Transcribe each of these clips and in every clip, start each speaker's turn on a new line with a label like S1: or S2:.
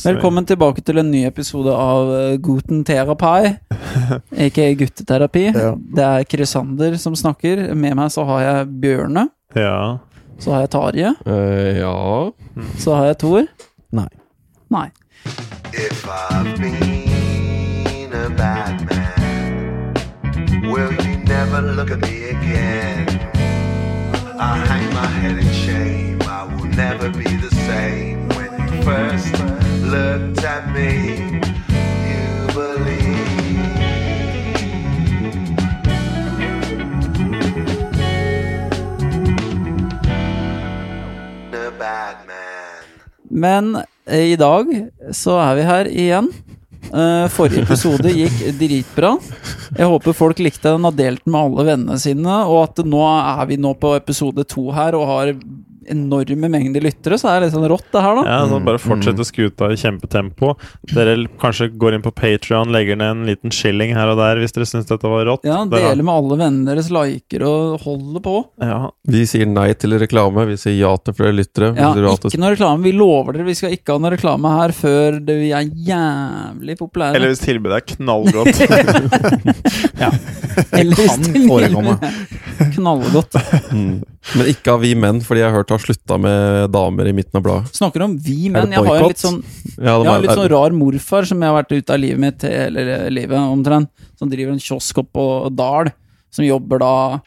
S1: Velkommen tilbake til en ny episode av eh, Guten Therapy, ikke gutteterapi.
S2: Ja.
S1: Det er Krisander som snakker. Med meg så har jeg Bjørne,
S2: Ja.
S1: så har jeg Tarje,
S3: Eh, ja
S1: så har jeg Tor.
S2: Nei.
S1: Nei.
S4: If I've been a bad man, will you never look at me again? I hang my head in shame, I will never be the same. When you first looked at me, you believed. A bad man.
S1: Men eh, i dag så er vi her igjen. Eh, forrige episode gikk dritbra. Jeg håper folk likte den og delte den med alle vennene sine. Og at nå er vi nå på episode to her og har enorme mengder lyttere, så det er litt sånn rått, det her, da.
S2: ja så bare fortsette skuta i kjempetempo. Dere l- kanskje går inn på Patrion, legger ned en liten shilling her og der hvis dere syns dette var rått.
S1: Ja,
S2: Dere-
S1: Dele med alle vennene deres, liker og holder på.
S2: ja.
S3: Vi sier nei til reklame, vi sier ja til flere lyttere.
S1: Ja,
S3: Vi sier ja til-
S1: Ikke noe reklame. Vi lover dere, vi skal ikke ha noe reklame her før det- vi er jævlig populære.
S2: Eller hvis tilbudet er knallgodt.
S1: Eller hvis
S5: kan
S1: det-
S5: forekomme.
S1: Knallgodt.
S3: Mm. Men ikke av vi menn, fordi jeg har hørt har slutta med damer i midten av bladet.
S1: Snakker om vi
S3: Er det
S1: menn. Jeg har jo en litt
S3: boikott?
S1: sånn
S3: Ja,
S1: Jeg
S3: det var-
S1: har litt sånn rar morfar som jeg har vært ute av livet mitt Eller eh, livet omtrent Som driver en kiosk opp på Dal Som jobber da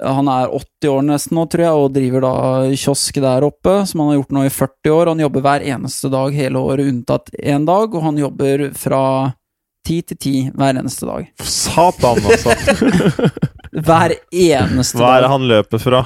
S1: Han er 80 år nesten nå tror jeg Og driver da kiosk der oppe Som han har gjort nå i 40 år Han jobber hver eneste dag hele året unntatt en dag Og han jobber fra 10 til 10 hver eneste dag
S2: Satan, altså!
S1: Hver eneste
S2: Hva er det
S1: dag
S2: han løper fra?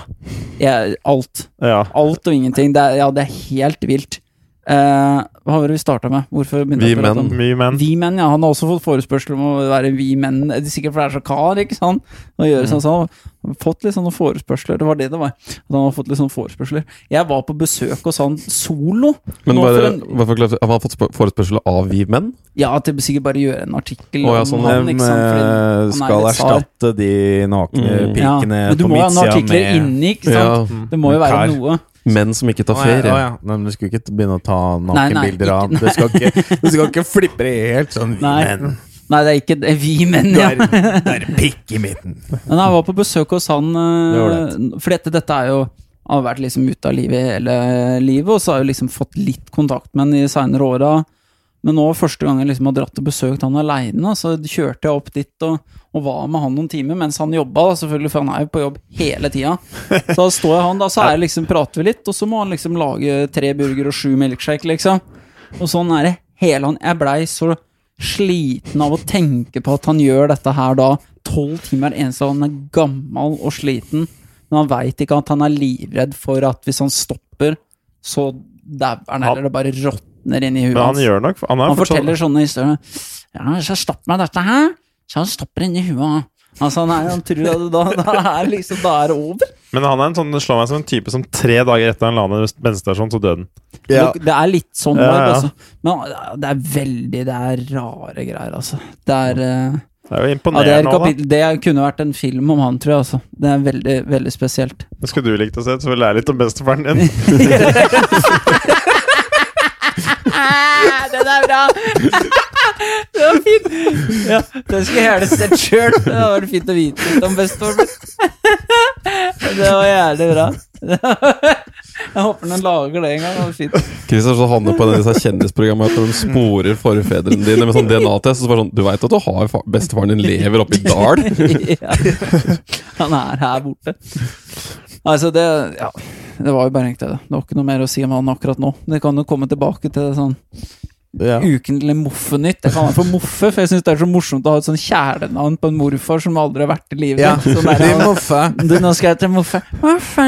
S1: Jeg- Alt,
S2: Ja.
S1: alt og ingenting det er, Ja, det er helt vilt Eh, Hva var det vi startet med? Hvorfor begynte
S3: Vi
S1: jeg å prate
S3: menn.
S1: om-
S2: Mye menn.
S1: Vi menn, ja. Han har også fått forespørsel om å være vi menn. Det er sikkert fordi det er så kar, ikke sant? Og gjøre sånn, så han har fått litt sånne forespørsler. Det var det det var. At han har fått litt sånne forespørsler. Jeg var på besøk hos han solo.
S3: Men
S1: nå for
S3: bare,
S1: en,
S3: bare for å klare- han har fått spør- forespørsel av vi menn?
S1: ja, til sikkert bare gjøre en artikkel
S3: Å, ja, sånn,
S1: han,
S5: De
S1: ikke sant? Fordi han er
S5: Altså, eh, skal
S1: litt sar.
S5: erstatte de nakne
S3: Mm.
S1: Ja,
S5: pikene
S1: Men du
S5: på
S1: må jo ha noen
S5: midtsida
S1: artikler
S5: med
S1: inni, ikke sant? Mm.
S3: Ja,
S1: Det må jo være
S5: Kar.
S1: noe.
S3: Menn som ikke tar
S5: Å, ja,
S3: ferie.
S5: å, ja. Nei, men du skulle ikke begynne å ta
S1: Nei, nei,
S5: nakenbilder
S1: ikke-
S5: av Du skal ikke, du skal ikke flippe det helt sånn
S1: Nei.
S5: Men
S1: Nei, det er ikke det. vi menn,
S5: du
S1: ja.
S5: er, du er pikk i midten.
S1: Men jeg var på besøk hos han
S5: Det var
S1: eh, For dette, dette er jo Han har vært liksom ute av livet hele livet Og så har jeg liksom fått litt kontakt med han i senere åra. Men nå første gang jeg liksom har dratt og besøkt han aleine, så kjørte jeg opp dit og, og var med han noen timer mens han jobba, da, selvfølgelig, for han er jo på jobb hele tida. Så da står jeg han, da så er jeg liksom, prater vi litt, og så må han liksom lage tre burger og sju milkshake, liksom. Og sånn er det hele han Jeg blei så sliten av å tenke på at han gjør dette her da, tolv timer eneste han er gammel og sliten, men han veit ikke at han er livredd for at hvis han stopper, så dauer han, eller det bare råtner inn i huet
S2: Men han
S1: hans.
S2: gjør nok Han, er
S1: Han
S2: fortsatt-
S1: forteller sånne historier. Ja, så stopp meg dette her. Så han stopper inni huet. Altså, han, er, han tror at da, da er liksom, da er det over.
S2: Men han er en sånn, det slår meg som en type som tre dager etter han la ned bensinstasjonen, så døde han.
S1: Det, det er litt sånn
S2: Ja,
S1: vibe,
S2: ja.
S1: altså. Men det er veldig Det er rare greier, altså. Det er, eh,
S2: Det er jo
S1: ja, det, er
S2: imponerende. også,
S1: kapittel, det kunne vært en film om han, tror jeg, altså. Det er veldig, veldig spesielt.
S2: da. Skulle du likt å se, så vil jeg lære litt om bestefaren din.
S1: Den er bra! Det var fint! Ja, den skulle jeg gjerne sett sjøl. Det var fint å vite litt om bestefaren min. Det var jævlig bra. Jeg håper den lager det en gang. Det var fint.
S3: Kristian så havner på en av disse kjendisprogrammene at de sporer forfedrene dine med sånn DNA-test. Og så bare sånn Du veit at du har fa- bestefaren din lever oppe i dal?
S1: Ja. Han er her borte. Altså, det Ja. Det var jo bare egentlig det. Det var ikke noe mer å si om han akkurat nå. Det kan jo komme tilbake til det sånn
S5: Ja.
S1: ukentlig Moffenytt. Jeg kaller han for Moffe, for jeg syns det er så morsomt å ha et sånn kjælenavn på en morfar som aldri har vært i live.
S5: Ja,
S1: Sånn der,
S5: de
S1: han-
S5: moffe.
S1: du, nå skal jeg til Moffe. Moffe!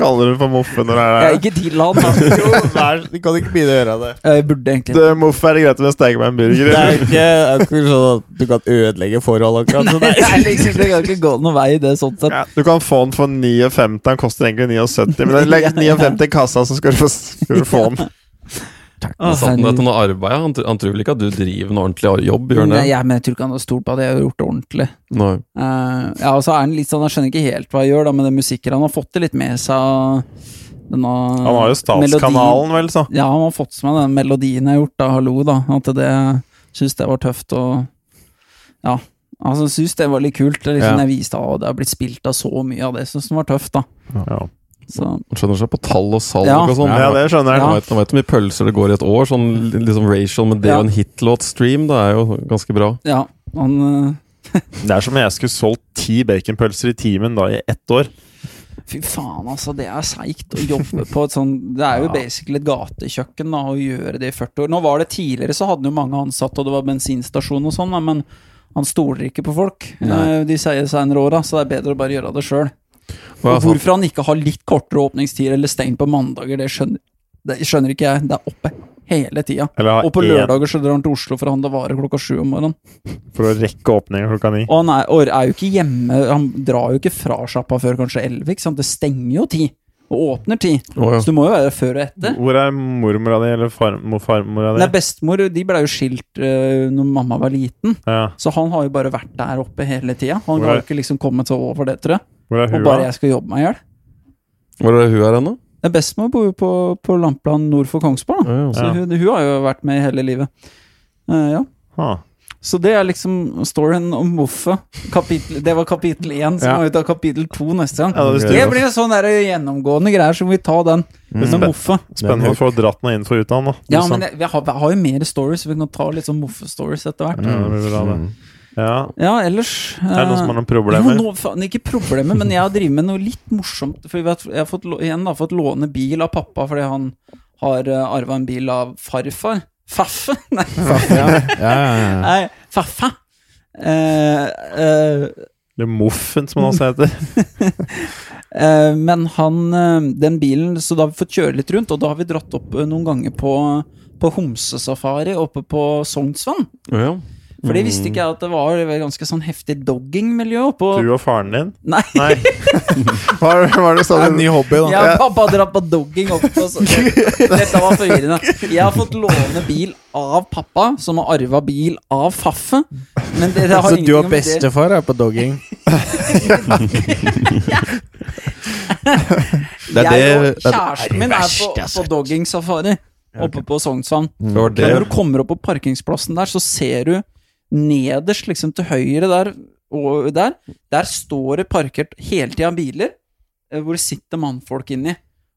S2: Kaller du for Moffe når det
S1: Jeg er
S2: er
S1: ikke til han, da.
S5: Jo, vær- du kan ikke begynne å gjøre det.
S1: Jeg burde egentlig
S2: Du, Moffe, er det greit om jeg steker meg en burger?
S5: Det
S2: eller?
S5: er ikke, det er ikke sånn at du kan ødelegge forholdet akkurat sånn.
S1: det. er liksom, det kan ikke gå noen vei i det, sånn sett.
S2: Ja, du kan få den for 59. Han koster egentlig 79, men legg 59 i kassa, så skal du få, skal du få den.
S1: Å,
S3: Han satt der
S1: herregud.
S3: til noe arbeid. Han, tr- han tror vel ikke at du driver noe ordentlig jobb? Gjør han
S1: Nei,
S3: det?
S1: jeg, men jeg tror ikke han har stolt på at jeg har gjort det ordentlig.
S3: Nei.
S1: Eh, ja, og så er han litt sånn, Jeg skjønner ikke helt hva jeg gjør da med den musikken. Han har fått det litt med seg. denne
S2: Han har jo Statskanalen, vel, så.
S1: Ja, han har fått med den melodien jeg har gjort, da. Hallo, da. At det syns det var tøft og Ja. Altså, syns det var litt kult. Det er Liksom,
S2: Ja.
S1: Jeg viste at det har blitt spilt av så mye av det. Syns den var tøft, da.
S2: Ja,
S1: Så
S3: Man skjønner seg på tall og salg
S1: Ja.
S3: og sånn.
S2: ja det skjønner jeg.
S3: Man vet, man vet hvor mye pølser det går i et år, sånn liksom racial, men det
S1: Ja.
S3: og en hitlåt-stream, det er jo ganske bra.
S1: ja, han øh,
S2: Det er som om jeg skulle solgt ti baconpølser i timen da i ett år.
S1: Fy faen, altså. Det er seigt å jobbe på et sånn Det er jo basically et gatekjøkken da, å gjøre det i 40 år. Nå var det tidligere, så hadde han jo mange ansatte, og det var bensinstasjon og sånn, da, men han stoler ikke på folk eh, de sier seinere åra, så det er bedre å bare gjøre det sjøl.
S3: Ja, sant.
S1: Hvorfor han ikke har litt kortere åpningstid eller stengt på mandager, det skjønner, det skjønner ikke jeg. Det er oppe hele tida.
S2: Eller ha
S1: Og på
S2: én
S1: lørdager så drar han til Oslo for å handle varer klokka sju om morgenen.
S2: for å rekke åpningen klokka ni.
S1: Og han er, og er jo ikke hjemme, han drar jo ikke fra sjappa før kanskje elleve, ikke sant. Det stenger jo ti. Og åpner ti.
S3: Å, ja.
S1: Så du må jo være der før og etter.
S2: Hvor er mormora di, eller farmo- farmora
S1: Nei,
S2: di?
S1: bestemor de ble jo skilt uh, når mamma var liten,
S2: Ja.
S1: så han har jo bare vært der oppe hele tida. Han
S2: Hvor
S1: har
S2: er-
S1: jo ikke liksom kommet seg over det, tror jeg.
S2: Hvor er
S1: Og
S2: hun?
S1: bare
S2: da?
S1: jeg skal jobbe meg i hjel.
S3: Hvor er det hun er ennå?
S1: Nei, Bestemor bor jo på, på Lampland nord for Kongsberg, da.
S3: Ja, ja.
S1: så
S2: Ja.
S1: Altså, hun, hun har jo vært med hele livet. Eh, ja.
S2: Ah.
S1: Så det er liksom storyen om Moffe. Kapittel- Det var kapittel én, som
S2: Ja.
S1: må vi ta kapittel to neste gang.
S2: Ja, det Mm. visste
S1: det
S2: jeg.
S1: blir sånn der gjennomgående greier, så må vi ta den. Med
S2: Spen-
S1: Moffe.
S2: Spennende å få dratt noe inn for utdann, da. Liksom.
S1: Ja, men jeg, jeg, har, jeg har jo mer stories, så vi kan ta litt sånn Moffe-stories etter hvert.
S2: ja, det blir bra, det. Ja.
S1: Ja, ellers
S2: Mm.
S1: eh,
S2: Er det noen som har noen problemer?
S1: Jo, nå, faen, ikke problemer, men jeg har drevet med noe litt morsomt. For jeg har, jeg har fått, lå- igjen da, fått låne bil av pappa fordi han har uh, arva en bil av farfar. Faffe? Nei, nei faffe. Eh, eh,
S2: Eller Moffen, som han også heter.
S1: eh, men han, eh, den bilen, så da har vi fått kjøre litt rundt, og da har vi dratt opp eh, noen ganger på, på homsesafari oppe på Sognsvann.
S3: Å, ja.
S1: For det visste ikke jeg at det var, det var ganske sånn heftig dogging-miljø oppå.
S2: Du og faren din.
S1: Nei.
S2: Nei.
S5: Hva er det- hva er det sa du? En ny hobby, da.
S1: Ja, pappa dratt på dogging opp på så- Dette var forvirrende. Jeg har fått låne bil av pappa, som har arva bil av Faffe. Men dere har
S5: Så du
S1: ingenting
S5: og
S1: om det-
S5: bestefar er på dogging?
S3: Det
S1: Jeg og
S3: er det- det er-
S1: kjæresten min er på, på doggingsafari oppe på Sognsvann.
S3: Det var det.
S1: Men når du kommer opp på parkingsplassen der, så ser du nederst, liksom til høyre der, og der, der står det parkert hele tida biler eh, hvor det sitter mannfolk inni.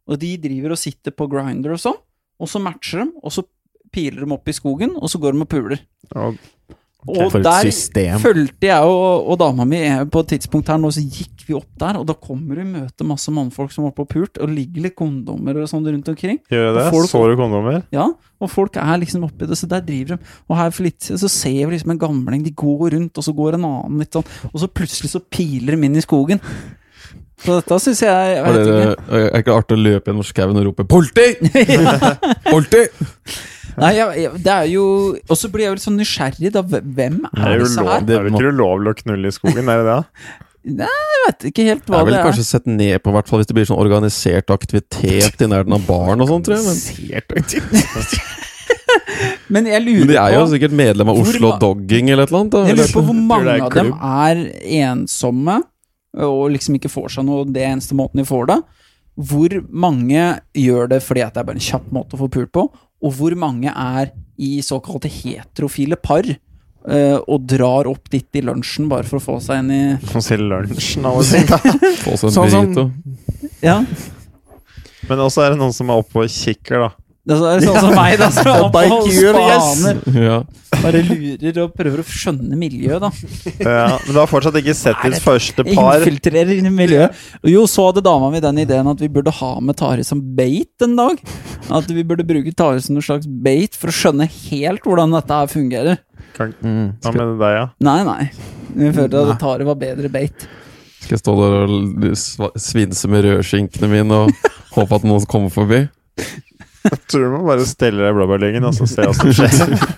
S1: Og de driver og sitter på grinder og sånn, og så matcher de, og så piler de opp i skogen, og så går de og puler.
S2: Ja,
S1: Og
S5: For et
S1: der
S5: system.
S1: fulgte jeg og, og dama mi eh, på et tidspunkt her nå, så gikk vi opp der, og da kommer du i møte masse mannfolk som er oppe og pult, og ligger litt kondomer og sånn rundt omkring.
S2: Gjør jeg det?
S1: Får du-
S2: Så du kondomer?
S1: Ja, og folk er liksom oppi det, så der driver de. Og her for litt siden så ser vi liksom en gamling, de går rundt, og så går en annen litt sånn, og så plutselig så piler de inn i skogen. Så dette syns jeg jeg
S3: Var
S1: vet
S3: dere- er det ikke artig å løpe gjennom skauen og rope 'politi'?
S1: ikke.
S3: Politi!
S1: Nei, jeg, jeg, det er jo Og så blir jeg jo litt sånn nysgjerrig, da. Hvem
S2: Det
S1: er
S2: er jo
S1: disse her?
S2: lov, det er jo ikke ulovlig å knulle i skogen, er det det?
S1: Jeg vet ikke helt
S3: Det
S1: hva
S3: er vel
S1: det er.
S3: kanskje sett ned på, hvertfall hvis det blir sånn organisert aktivitet i nærheten av baren og sånn, tror jeg. Men,
S1: Men jeg
S3: men
S1: lurer
S3: de er jo
S1: på
S3: sikkert medlem av
S1: Hvor
S3: Oslo
S1: ma-
S3: Dogging eller et eller annet. Da.
S1: Jeg
S3: Eller-
S1: lurer på hvor
S2: Tror det
S1: mange
S2: er
S1: av dem er ensomme og liksom ikke får seg noe det er eneste måten de får det. Hvor mange gjør det fordi at det er bare en kjapp måte å få pult på, og hvor mange er i såkalte heterofile par eh, og drar opp dit i lunsjen bare for å få seg en i
S2: Som sier lunsjen, alle sier.
S3: Få seg en
S5: Sånn som-
S3: burrito.
S1: Ja,
S2: Men også er det noen som er oppe og kikker, da.
S1: det er sånn som meg, da. Som er oppe og
S5: Biker, yes.
S1: spaner.
S3: Ja.
S1: Bare lurer og prøver å skjønne miljøet, da.
S2: Ja, men du har fortsatt ikke sett ditt første par.
S1: Infiltrerer inn i miljøet. Og jo, så hadde dama mi den ideen at vi burde ha med Tari som bait en dag. At vi burde bruke Tari som noe slags bait for å skjønne helt hvordan dette her fungerer.
S2: Kan, ja, med deg, ja.
S1: Nei, nei. Vi følte at Tari var bedre bait.
S3: Skal jeg stå der og l- sva- svinse med rødskinkene mine og håpe at noen kommer forbi?
S2: Jeg tror du må bare stelle deg i blåbærlyngen og så se hva som skjer.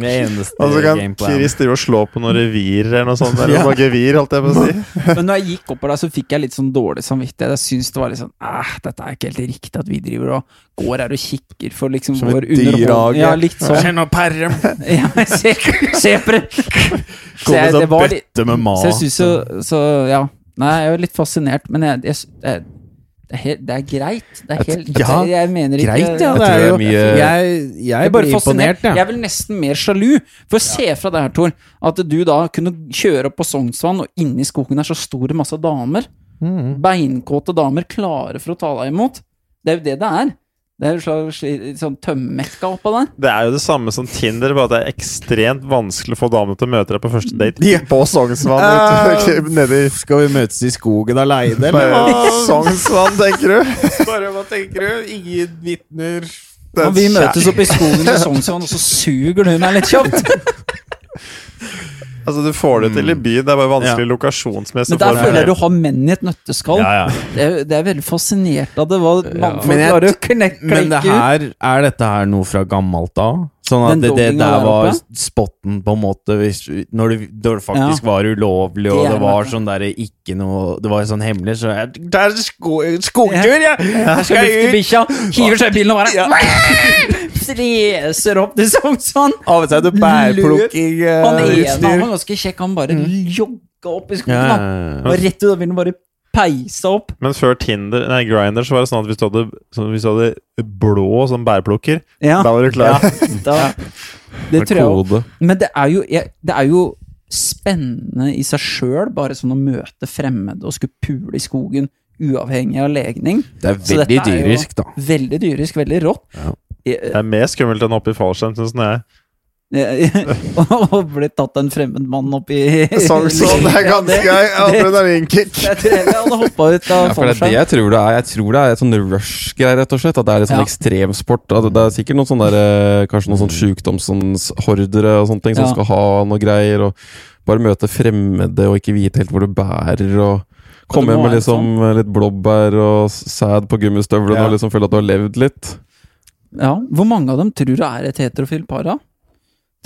S5: Det er eneste
S2: Og så kan
S5: gameplan.
S2: Chris drive og slå på noen revir eller noe sånt. Eller noe gevir, holdt jeg på å si.
S1: Men når jeg gikk opp der, så fikk jeg litt sånn dårlig samvittighet. Jeg syns det var litt sånn Æh, dette er ikke helt riktig at vi driver og går her og kikker for liksom
S5: Som
S1: vår
S5: et dyrehage.
S1: underholdning. Ja, litt sånn.
S5: Kjenn nå perren!
S1: Ja, se, se på det! Så jeg-
S5: sånn
S1: det var litt-
S5: med
S1: Så jeg synes jo Så ja Nei, jeg er jo litt fascinert, men jeg, jeg, jeg Det er, helt, det er greit. Det er
S3: Jeg-
S1: helt,
S5: ja,
S1: jeg mener ikke
S3: Jeg
S5: Greit, ja. eh, Det
S3: tror
S5: er
S3: det er
S5: jo
S3: mye-
S5: Jeg, jeg
S1: Jeg er
S5: blir
S1: bare
S5: imponert,
S1: fascinert. Jeg
S5: jeg.
S1: er vel nesten mer sjalu. For se fra det her, Tor, at du da kunne kjøre opp på Sognsvann, og inni skogen er så stor masse damer. Beinkåte damer klare for å ta deg imot. Det er jo det det er. Det er jo slags sånn tømmekka oppå der.
S2: Det er jo det samme som Tinder, bare at det er ekstremt vanskelig å få damene til å møte deg på første date.
S6: På Sognsvann
S5: Ah.
S6: vet du, nedi
S5: Skal vi møtes i skogen aleine, eller?
S6: Bare- sånn. Sognsvann, tenker du?
S5: Bare hva tenker du? Ingen vitner.
S6: Det er
S1: Og vi
S6: kjæ-
S1: møtes oppe i skogen i Sognsvann, og så suger du meg litt kjapt.
S2: Altså, du får det til i byen, det er bare vanskelig lokasjonsmessig. å
S1: Men
S2: få
S1: der
S2: det
S1: føler jeg
S2: med.
S1: du har menn i et nøtteskall.
S2: ja, ja.
S1: Det er, det er veldig fascinert av det, hva mannfolk
S5: Men jeg-
S1: klarer å knekke
S5: Men det
S1: klikke ut.
S5: her, er dette her noe fra gammelt av? Sånn
S1: Den
S5: at det, det
S1: dongen
S5: der
S1: der
S5: var
S1: oppe?
S5: spotten, på en måte, hvis, når, det, når det faktisk var ulovlig, og
S1: Det er
S5: det var
S1: det.
S5: sånn derre ikke noe Det var sånn hemmelig, så jeg Det er sko, skogtur, jeg!
S1: Skal
S5: Her
S1: lufte
S5: skal jeg ut!
S1: bikkja, hiver seg i bilen og bare Freser opp til Sognsvann.
S6: Av og til er det bærplukking eh,
S1: Han ene han
S6: utstyr.
S1: var ganske kjekk, han bare jogga opp i skogen.
S5: Ja,
S1: han. Og rett ut av bilen bare peisa opp.
S2: Men før Tinder, nei, Grindr, så var det sånn at hvis du hadde, så hvis du hadde blå som bærplukker,
S1: Ja,
S2: da var du klar.
S1: da, det tror jeg
S3: Kode.
S1: Men det er jo, jeg, det er jo spennende i seg sjøl, bare sånn å møte fremmede og skulle pule i skogen, uavhengig av legning.
S5: Det er
S1: Så dette
S5: veldig
S1: er jo-
S5: dyrisk, da.
S1: Veldig dyrisk, veldig rått. Eh,
S2: Det er mer skummelt enn oppe i fallskjerm, syns jeg.
S1: og bli tatt av en fremmed mann opp i
S6: Sognsvann Sånn, det er ganske adrenalinkick.
S1: Jeg tror heller jeg hadde hoppa ut av
S3: Ja, for det er det
S1: fallskjerm.
S3: jeg tror det er. Jeg tror det er et sånn rush-greier, rett og slett. At det er litt sånn
S1: Ja. Mm.
S3: ekstremsport. At det er sikkert noen sånne der, eh, kanskje noen sånn sjukdomshordere og sånne ting som
S1: Ja.
S3: skal ha noe greier. Og bare møte fremmede og ikke vite helt hvor det bærer. Og komme
S1: Ja, det
S3: hjem
S1: må
S3: med
S1: være sånn.
S3: liksom eh, litt blåbær og s- sæd på gummistøvlene
S2: Ja.
S3: og liksom føle at du har levd litt.
S1: Ja, Hvor mange av dem tror du er et heterofilt par, da?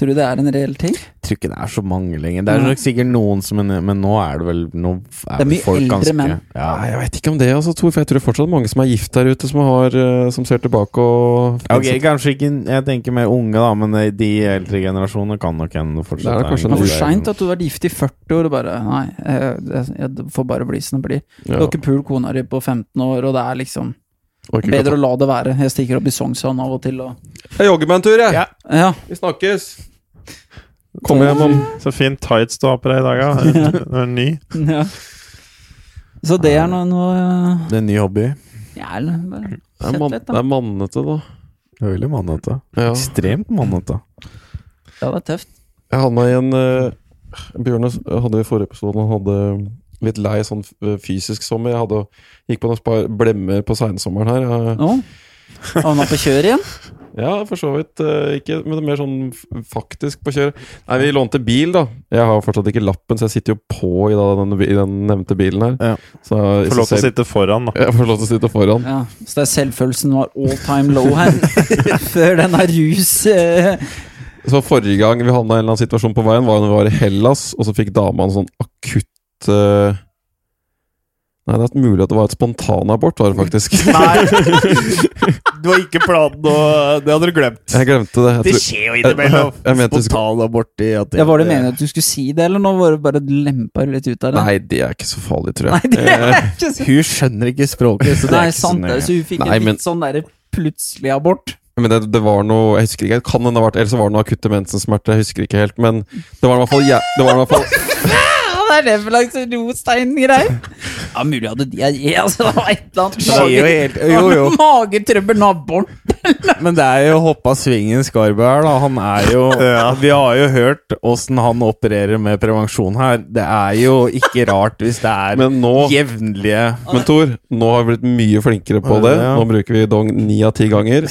S1: Tror du det er en reell ting?
S5: Jeg tror ikke det er så mange lenger. Det er nok sikkert noen som Men, men nå er det vel Nå er
S1: Det er
S5: vel
S1: mye
S5: folk
S1: eldre
S5: ganske
S1: menn.
S5: Ja.
S3: Nei, jeg veit ikke om det, altså, Tor. For jeg tror fortsatt det er mange som er gift der ute, som, har, eh, som ser tilbake og
S5: Ok, kanskje ikke Jeg tenker mer unge, da, men de- de eldre generasjonene kan nok ennå fortsette.
S3: Det er
S1: Det
S3: kanskje
S5: en
S1: var
S5: god
S1: for
S5: del.
S1: seint at du var gift i 40 år og bare Nei, jeg, jeg, jeg får bare bli som det blir. Du har
S3: Ja,
S1: ikke pult kona di på 15 år, og det er liksom
S3: orker ikke å
S1: bedre å la det være. Jeg stikker opp i Sognsvann av og til og
S3: ta- Jeg jogger meg en tur, jeg.
S5: Ja.
S1: Ja.
S3: Vi snakkes. Kom hjem om
S2: Så fin tights du har på deg i dag, ja. Du er ny.
S1: ja. Så det er noe, noe
S5: Det er en ny hobby.
S1: Ja, eller bare
S3: Det er,
S1: Sett
S3: man,
S1: litt,
S3: det
S1: da.
S3: er mannete, da.
S5: Det er veldig mannete. Ekstremt mannete.
S1: Ja, det er tøft. Jeg
S3: Jeg havna i en uh, Bjørn hadde i forrige episode Han hadde litt lei sånn eh, fysisk sommer. Jeg hadde, gikk på noen spar blemmer på seinsommeren her. eh.
S1: Å. Havna på kjøret igjen?
S3: Ja, for så vidt. eh, ikke, men det er mer sånn f- faktisk på kjør. Nei, vi lånte bil, da. Jeg har fortsatt ikke lappen, så jeg sitter jo på i, da, den, i den nevnte bilen her.
S5: Ja.
S3: Så,
S2: Får lov til å sitte foran, da.
S3: Jeg får lov til å sitte foran.
S1: Ja, Så det er selvfølelsen var all time low her før den har rus eh,
S3: Så forrige gang vi havna i en eller annen situasjon på veien, var når vi var i Hellas, og så fikk dama en sånn akutt eh, Nei, det er mulig at det var et spontanabort, var det faktisk.
S5: Nei! Du har ikke planen å Det hadde du glemt.
S3: Jeg glemte det. Jeg
S5: Det
S3: tror,
S5: skjer jo
S3: jeg, jeg,
S5: innimellom.
S3: jeg mente det skulle-
S5: Spontanabort i at
S1: Ja, Var det meningen at du skulle si det, eller nå var det bare lempa litt ut av det?
S3: Nei, det er ikke så farlig, tror
S1: Nei,
S3: jeg.
S1: det er ikke så
S5: Hun skjønner ikke språket, så Eh, det
S1: Nei,
S5: er ikke så
S1: sant det,
S5: nøye.
S1: så hun fikk
S3: Nei,
S1: en
S3: men-
S1: litt sånn derre plutselig abort.
S3: Men det, det var noe Jeg husker ikke, det kan hende det har vært Eller så var det noe akutte mensensmerter, jeg husker ikke helt. Men det var i hvert fall jæ- Det var i hvert fall
S1: Ja, det er det for slags rostein-greier. Ja, mulig hadde de jeg, altså, Det var et eller annet
S5: Det skjer jo helt Jo, jo.
S1: Magetrøbbel med abort.
S5: Men det er jo hoppa svingen Skarberg her, da. Han er jo Vi har jo hørt åssen han opererer med prevensjon her. Det er jo ikke rart hvis det er
S3: Men nå
S5: jevnlige
S3: Men Tor, nå har vi blitt mye flinkere på det.
S5: Ja.
S3: Nå bruker vi dong ni av ti ganger.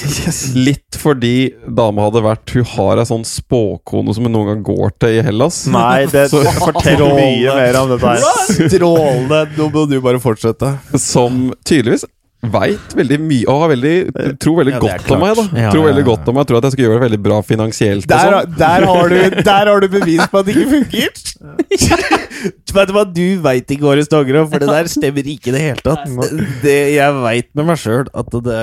S3: Litt fordi dama hadde vært Hun har ei sånn spåkone som hun noen gang går til i Hellas.
S2: Nei, det forteller mye mer om dette her.
S5: Strålende! Nå må du bare fortsette.
S3: Som tydeligvis veit veldig mye og har veldig, tror veldig
S5: Ja, det er
S3: godt om meg. da
S5: klart. Ja,
S3: Tror
S5: ja,
S3: veldig
S5: ja.
S3: godt om meg Tror at jeg skal gjøre det veldig bra finansielt. og
S5: Der,
S3: sånn.
S5: der, har du, der har du bevis på at det ikke funker! Vet du hva, du veit ikke årets dagere, for det der stemmer ikke i det hele tatt. Det, jeg veit med meg sjøl at det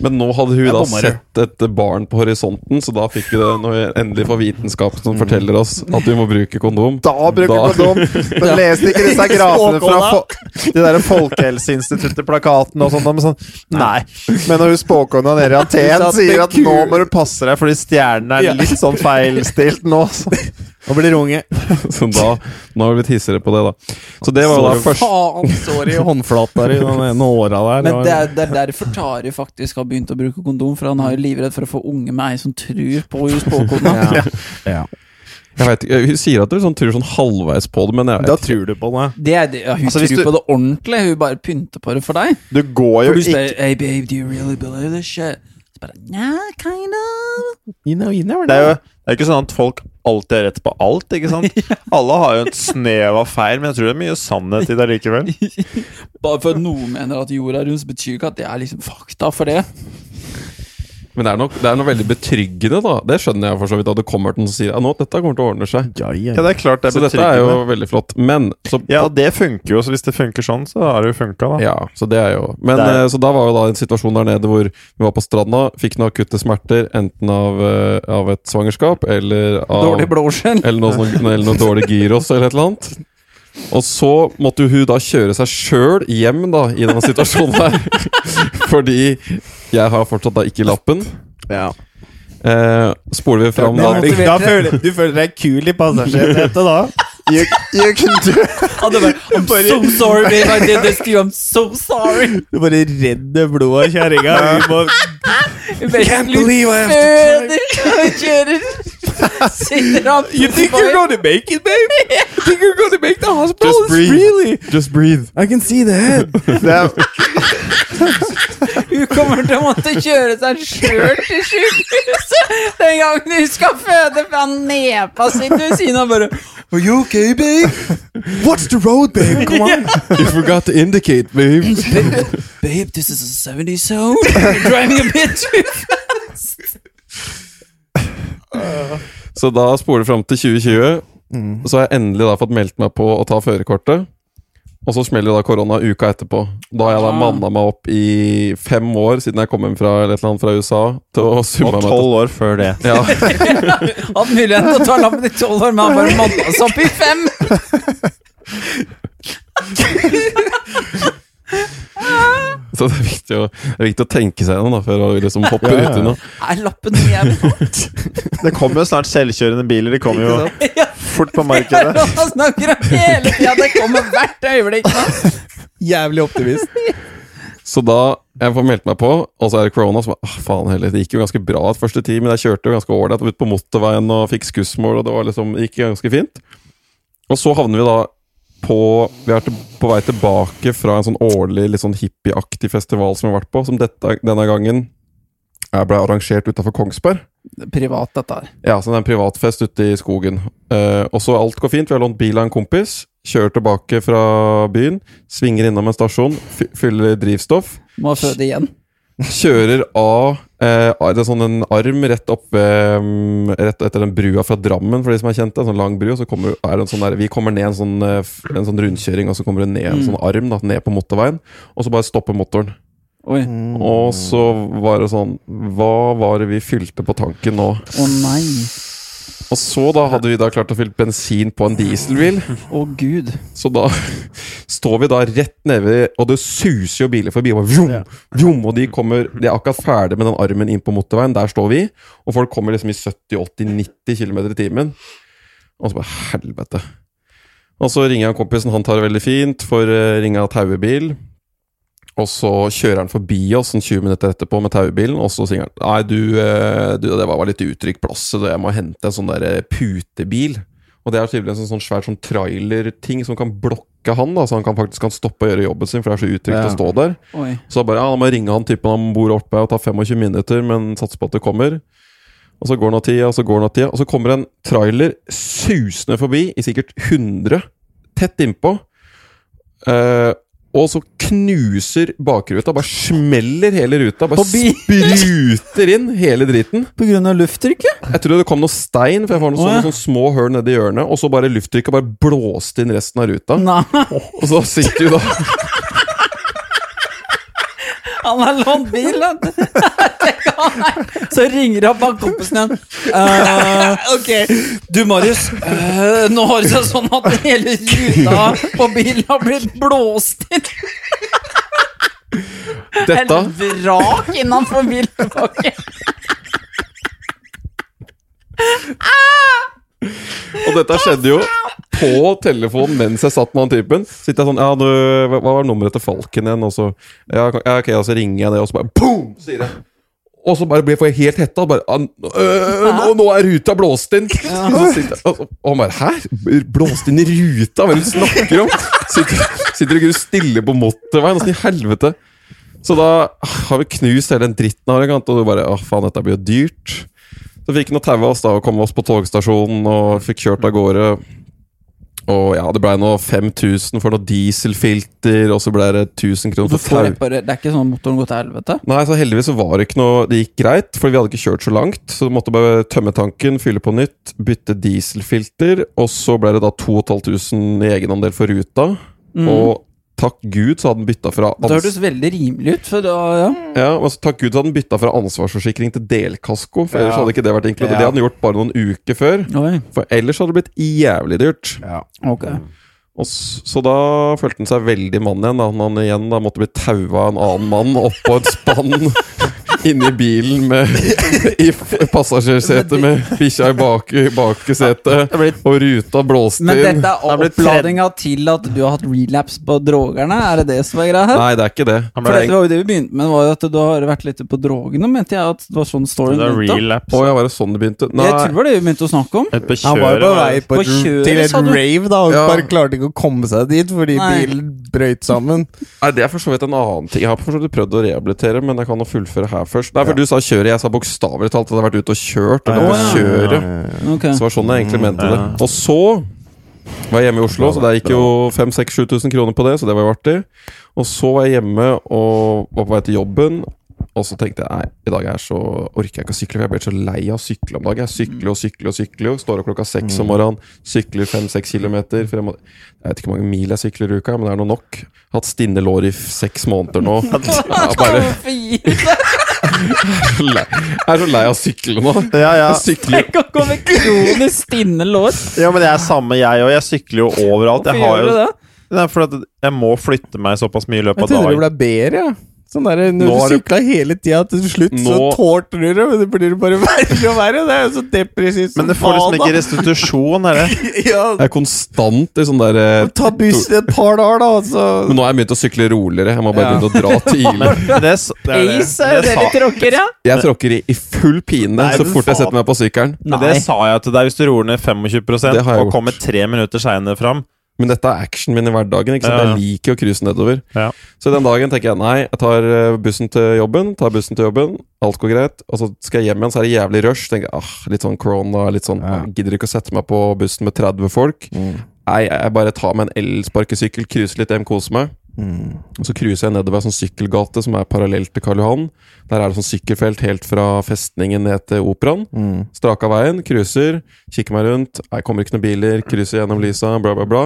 S3: Men nå hadde hun
S5: Jeg
S3: da
S5: bommer.
S3: sett et barn på horisonten, så da fikk vi det når vi endelig får vitenskap som forteller oss at vi må bruke kondom.
S6: Da bruker
S3: Da-
S6: kondom! Men les ikke disse grafene fra
S5: Spåkona.
S6: fo de der Folkehelseinstituttet-plakatene og sånt. da, Men, sånn, nei. men når hun spåkona nede i Aten
S5: Hun sa at
S6: sier at
S5: det ku-
S6: nå må du passe deg fordi stjernen
S5: Ja.
S6: er litt sånn feilstilt nå så.
S5: Nå blir det unge.
S3: Så da, nå har vi blitt hissigere på det, da. Så det var jo da første
S5: Faen, sorry, håndflata di den ene åra der.
S1: Men det er, det er derfor Tari faktisk har begynt å bruke kondom, for han er jo livredd for å få unge med ei som tror på spåkona.
S5: ja. ja.
S3: jeg vet, ikke, Hun sier at hun sånn, tror sånn halvveis på det, men jeg
S5: Da
S3: vet
S5: tror du på det.
S1: Det er det, ja, hun
S6: Altså, hvis
S1: tror
S6: du-
S1: på det ordentlig, hun bare pynter på det for deg.
S6: Du går jo
S1: For du
S6: ikke
S1: spør hey babe, do you really believe this shit? Så bare, nah, kind of.
S5: You know, you never
S6: Det er jo det er ikke sånn at folk alltid har rett på alt, ikke sant? Alle har jo et snev av feil, men jeg tror det er mye sannhet i det likevel.
S1: Bare for at noen mener at jorda er rund, så betyr ikke at det er liksom fakta for det.
S3: ikke. Men det er, nok, det er noe veldig betryggende, da. Det skjønner jeg for så vidt. At det kommer til noen som sier ja, nå, dette kommer til å ordne seg.
S5: Ja, ja.
S6: Ja, det er klart det er
S3: Så dette er
S6: betryggende.
S3: jo veldig flott. Men så
S6: Ja,
S3: ja.
S6: og det funker jo, så hvis det funker sånn, så har det jo funka, da.
S3: så det er jo Men
S6: Det er-
S3: eh, så da var jo da en situasjon der nede hvor vi var på stranda, fikk noen akutte smerter, enten av, eh, av et svangerskap eller av
S1: Dårlig blåskjell.
S3: Eller noe, sånn, eller noe dårlig gyros eller et eller annet. Og så måtte jo hun da kjøre seg sjøl hjem da i denne situasjonen her. Fordi jeg har fortsatt da ikke lappen.
S5: Ja.
S3: Eh, spoler vi fram da
S5: Da,
S1: motiverte.
S5: da føler, du føler deg kul i passasjersetet da.
S6: You, you can do
S1: Ja, det var, I'm so sorry, babe, I did this to you, I'm so sorry.
S5: Du bare redder blodet av kjerringa. Du må-
S1: Can't
S5: believe I have to
S1: kjører. Sitter han
S5: You think you're gonna make it, babe? You think you're gonna make the hospital?
S3: Just
S5: Oh, It's
S3: breathe.
S5: really
S3: Just breathe.
S5: I can see the head.
S6: det er,
S1: Hun kommer til å måtte kjøre seg sjøl til sykehuset den gangen hun skal føde fra nepa si til siden og bare
S5: Are you okay, babe? What's the road, babe? Come on.
S3: You forgot to indicate, babe.
S1: Babe, this is a 70 zone. You're driving a bit too fast.
S3: Så da spoler vi fram til 2020.
S5: Mm.
S3: Og så har jeg endelig da fått meldt meg på å ta førerkortet. Og så smeller jo da korona uka etterpå. Da har jeg da
S1: Ah.
S3: manna meg opp i fem år siden jeg kom hjem fra, eller et eller annet fra USA. Til å summe
S2: Og
S3: meg til-
S2: tolv år før det.
S3: Ja,
S1: Hatt muligheten til å ta lappen i tolv år, men han bare manna seg opp i fem.
S3: Så det er viktig å, det er viktig å tenke seg gjennom da, før å liksom hoppe
S5: Ja, ja.
S3: uti noe.
S1: Er lappen min jeg vil ha?
S6: det kommer jo snart selvkjørende biler. De kommer jo fort på
S1: Hører
S6: markedet.
S1: du hva han snakker om hele tida? Det kommer hvert øyeblikk. nå.
S5: Jævlig optimist.
S3: Så da jeg får meldt meg på, og så er det corona som er, ah, faen heller, Det gikk jo ganske bra et første tid, men jeg kjørte jo ganske ålreit ut på motorveien og fikk skussmål, og det var liksom, det gikk ganske fint. Og så havner vi da på Vi er til, på vei tilbake fra en sånn årlig litt sånn hippieaktig festival som vi har vært på, som dette, denne gangen eh, ble arrangert utafor Kongsberg.
S1: Privat, dette her.
S3: Ja, så det er en privatfest ute i skogen. Eh, og så alt går fint. Vi har lånt bil av en kompis. Kjører tilbake fra byen. Svinger innom en stasjon. fy- Fyller drivstoff.
S1: Må føde igjen.
S3: Kjører av eh, av- det er sånn en arm rett opp ved, mm, Rett etter den brua fra Drammen, for de som er kjent. det er En sånn lang bru. Og så kommer, er det en sånn der, vi kommer ned en sånn, eh, f- en sånn rundkjøring, og så kommer det ned
S1: Mm.
S3: en sånn arm da, ned på motorveien. Og så bare stopper motoren.
S1: Oi.
S3: Og så var det sånn Hva var det vi fylte på tanken nå?
S1: Å nei.
S3: Og så da hadde vi da klart å fylle bensin på en dieselbil.
S1: Å gud.
S3: Så da står vi da rett nede, ved- og det suser jo biler forbi. Og, bare vroom, vroom, og de kommer De er akkurat ferdig med den armen inn på motorveien. Der står vi. Og folk kommer liksom i 70-80-90 km i timen. Og så bare helvete. Og så ringer jeg kompisen, han tar det veldig fint, får eh, ringe av tauebil. Og så kjører han forbi oss sånn 20 minutter etterpå med taubilen, og så sier han Nei, du, eh, du det var var litt utrygg plass, så jeg må hente en sånn der eh, putebil. Og det er tydeligvis en sånn svær sånn trailerting som kan blokke han, da, så han kan faktisk kan stoppe å gjøre jobben sin, for det er så utrygt
S5: Ja.
S3: å stå der.
S1: Oi.
S3: Så da bare, ja, da må jeg ringe han typen han bor oppe og ta 25 minutter, men satser på at det kommer. Og så går nå tida, og så går nå tida, og så kommer en trailer susende forbi i sikkert 100, tett innpå. Eh, og så knuser bakruta, bare smeller hele ruta, bare
S1: Forbi.
S3: spruter inn hele driten.
S1: På grunn av lufttrykket?
S3: Jeg trodde det kom noe stein, for jeg var
S1: Å,
S3: noen
S1: ja.
S3: sånne, sånne små høl nedi hjørnet, og så bare lufttrykket bare blåste inn resten av ruta.
S1: Nei.
S3: Og så sitter du da
S1: Han har lånt bil, han! Tenk, han er- Så ringer han bare kompisen igjen. Eh, ok, du Marius. eh, nå har det seg sånn at hele ruta på bilen har blitt blåst inn. Et
S3: Dette
S1: vrak innenfor bilbakken.
S3: Og dette skjedde jo på telefonen mens jeg satt med han typen. Sitter jeg sånn Ja, du, hva hva var nummeret til Falken igjen? Og så ja, ok, ja, ok, og så ringer jeg det, og så bare boom! sier jeg. Og så bare blir får jeg helt hetta. Bare, «Ah, øh, nå, nå er ruta blåst inn! Og så sitter jeg, og, og han bare Hæ? Blåst inn i ruta? Hva er det du snakker om? Sitter, sitter og grur stille på motorveien? Åssen i helvete? Så da har vi knust hele den dritten av det, og du bare Å, faen, dette blir jo dyrt. Så fikk han å taue oss da og komme oss på togstasjonen og fikk kjørt av gårde. Og ja, det blei nå 5000 for noe dieselfilter, og så blei det 1000 kroner
S1: Du
S3: for
S1: får
S3: tau.
S1: reparere. Det er ikke sånn at motoren går til helvete.
S3: Nei, så heldigvis så var det ikke noe Det gikk greit, for vi hadde ikke kjørt så langt. Så du måtte bare tømme tanken, fylle på nytt, bytte dieselfilter, og så blei det da 2500 i egenandel for ruta.
S5: Mm.
S3: Og takk gud så hadde den bytta fra
S1: Det
S3: ans-
S1: hørtes veldig rimelig ut. For da, ja.
S3: ja, men altså, takk Gud så hadde den bytta fra ansvarsforsikring til delkasko. For ellers
S5: Ja.
S3: hadde ikke det vært inkludert.
S5: Ja.
S3: Det hadde den gjort bare noen uker før.
S1: Oi,
S3: For ellers hadde det blitt jævlig dyrt.
S5: Ja.
S1: ok.
S3: Og s- så da følte han seg veldig mann igjen. Da han, han igjen da måtte bli taua av en annen mann oppå et spann inni bilen med, i f- passasjersetet med bikkja i bak, baksetet, og ruta blåste
S1: Men
S3: inn.
S1: dette er oppladinga til at du har hatt relaps på drogerne? Er det det som er greia her?
S3: Nei, det er ikke det.
S2: Han
S1: For
S2: ble
S1: dette var jo det vi begynte med, var jo at du har vært litt på drogene, mente jeg at det var sånn storyen
S2: Det er
S1: begynte.
S2: relapse.
S3: Å ja, var det sånn det begynte? Nei,
S1: Jeg tror det var det vi begynte å snakke om.
S2: Et på
S5: Han var jo på vei
S2: kjøret.
S5: på
S1: På
S5: et,
S1: kjøret,
S5: til et
S1: sa du?
S5: rave, da, og
S3: Ja.
S5: bare klarte ikke å komme seg dit fordi
S1: Nei.
S5: bilen brøyt sammen.
S3: Nei, det er for så vidt en annen ting. Jeg har for så vidt prøvd å rehabilitere, men jeg kan jo fullføre her først. Nei, for du sa kjøret. Jeg sa bokstavelig talt at jeg hadde vært ute og kjørt. Eller på kjøret.
S1: Ok.
S3: Så det var sånn jeg egentlig mente det. Og så var jeg hjemme i Oslo, så der gikk jo 5 6 7000 kroner på det, så det var jo artig. Og så var jeg hjemme og var på vei til jobben. Og så tenkte jeg nei, i dag er så orker jeg ikke å sykle, for jeg blir så lei av å sykle om dagen. Jeg sykler og sykler og sykler, og står opp klokka seks om morgenen, sykler fem-seks kilometer. Frem og, jeg vet ikke hvor mange mil jeg sykler i uka, men det er nå nok. Hatt stinne lår i f- seks måneder nå. Jeg er bare
S1: Hvorfor gir du
S3: lei. Jeg er så lei av å sykle nå.
S2: Ja, ja.
S3: Jeg sykler
S1: deg å komme med kronisk stinne lår?
S2: ja, men det er samme jeg òg. Jeg sykler jo overalt.
S1: Hvorfor
S2: Jeg har
S1: gjør
S2: jo
S1: du det?
S2: Nei, for at jeg må flytte meg såpass mye i løpet av
S5: Jeg trodde det
S2: dagen.
S5: ble bedre, ja. Sånn der, når
S3: Nå er
S5: du
S3: det-
S5: sykla hele tida, til slutt så
S3: Nå-
S5: tårter du det, men det blir bare verre og verre. Det er jo så depressivt som
S2: Men det får liksom
S5: faen,
S2: ikke restitusjon, er det?
S5: da. ja,
S3: Jeg er konstant i sånn der eh,
S5: Ta bussen et par dager, da, og så
S3: Men nå har jeg begynt å sykle roligere. Jeg må bare
S5: Ja.
S3: begynne å dra tidlig.
S2: Men det, s- det er det.
S1: Ace er jo
S2: Det
S1: det vi
S2: sa-
S1: tråkker, ja.
S3: Jeg tråkker i, i full pine
S2: Nei,
S3: så
S2: men
S3: fort jeg
S2: faen.
S3: setter meg på sykkelen.
S2: Men det sa jeg til deg. Hvis du roer ned 25
S3: Det har jeg
S2: og
S3: gjort.
S2: kommer tre minutter seinere fram
S3: Men dette er actionen min i hverdagen. ikke
S2: Ja,
S3: sant?
S2: ja.
S3: Jeg liker å cruise nedover.
S2: Ja.
S3: Så den dagen tenker jeg nei, jeg tar eh, bussen til jobben, tar bussen til jobben, alt går greit. Og så skal jeg hjem igjen, så er det jævlig rush. Tenker jeg, ah, Litt sånn corona, litt sånn
S5: Ja.
S3: ah, Gidder ikke å sette meg på bussen med 30 folk. Nei, jeg bare tar meg en elsparkesykkel, cruiser litt hjem, koser meg. Og så cruiser jeg nedover ei sånn sykkelgate som er parallelt til Karl Johan. Der er det sånn sykkelfelt helt fra festningen ned til operaen. Straka veien, cruiser, kikker meg rundt. Nei, kommer ikke noen biler, cruiser gjennom lysa, bla, bla, bla.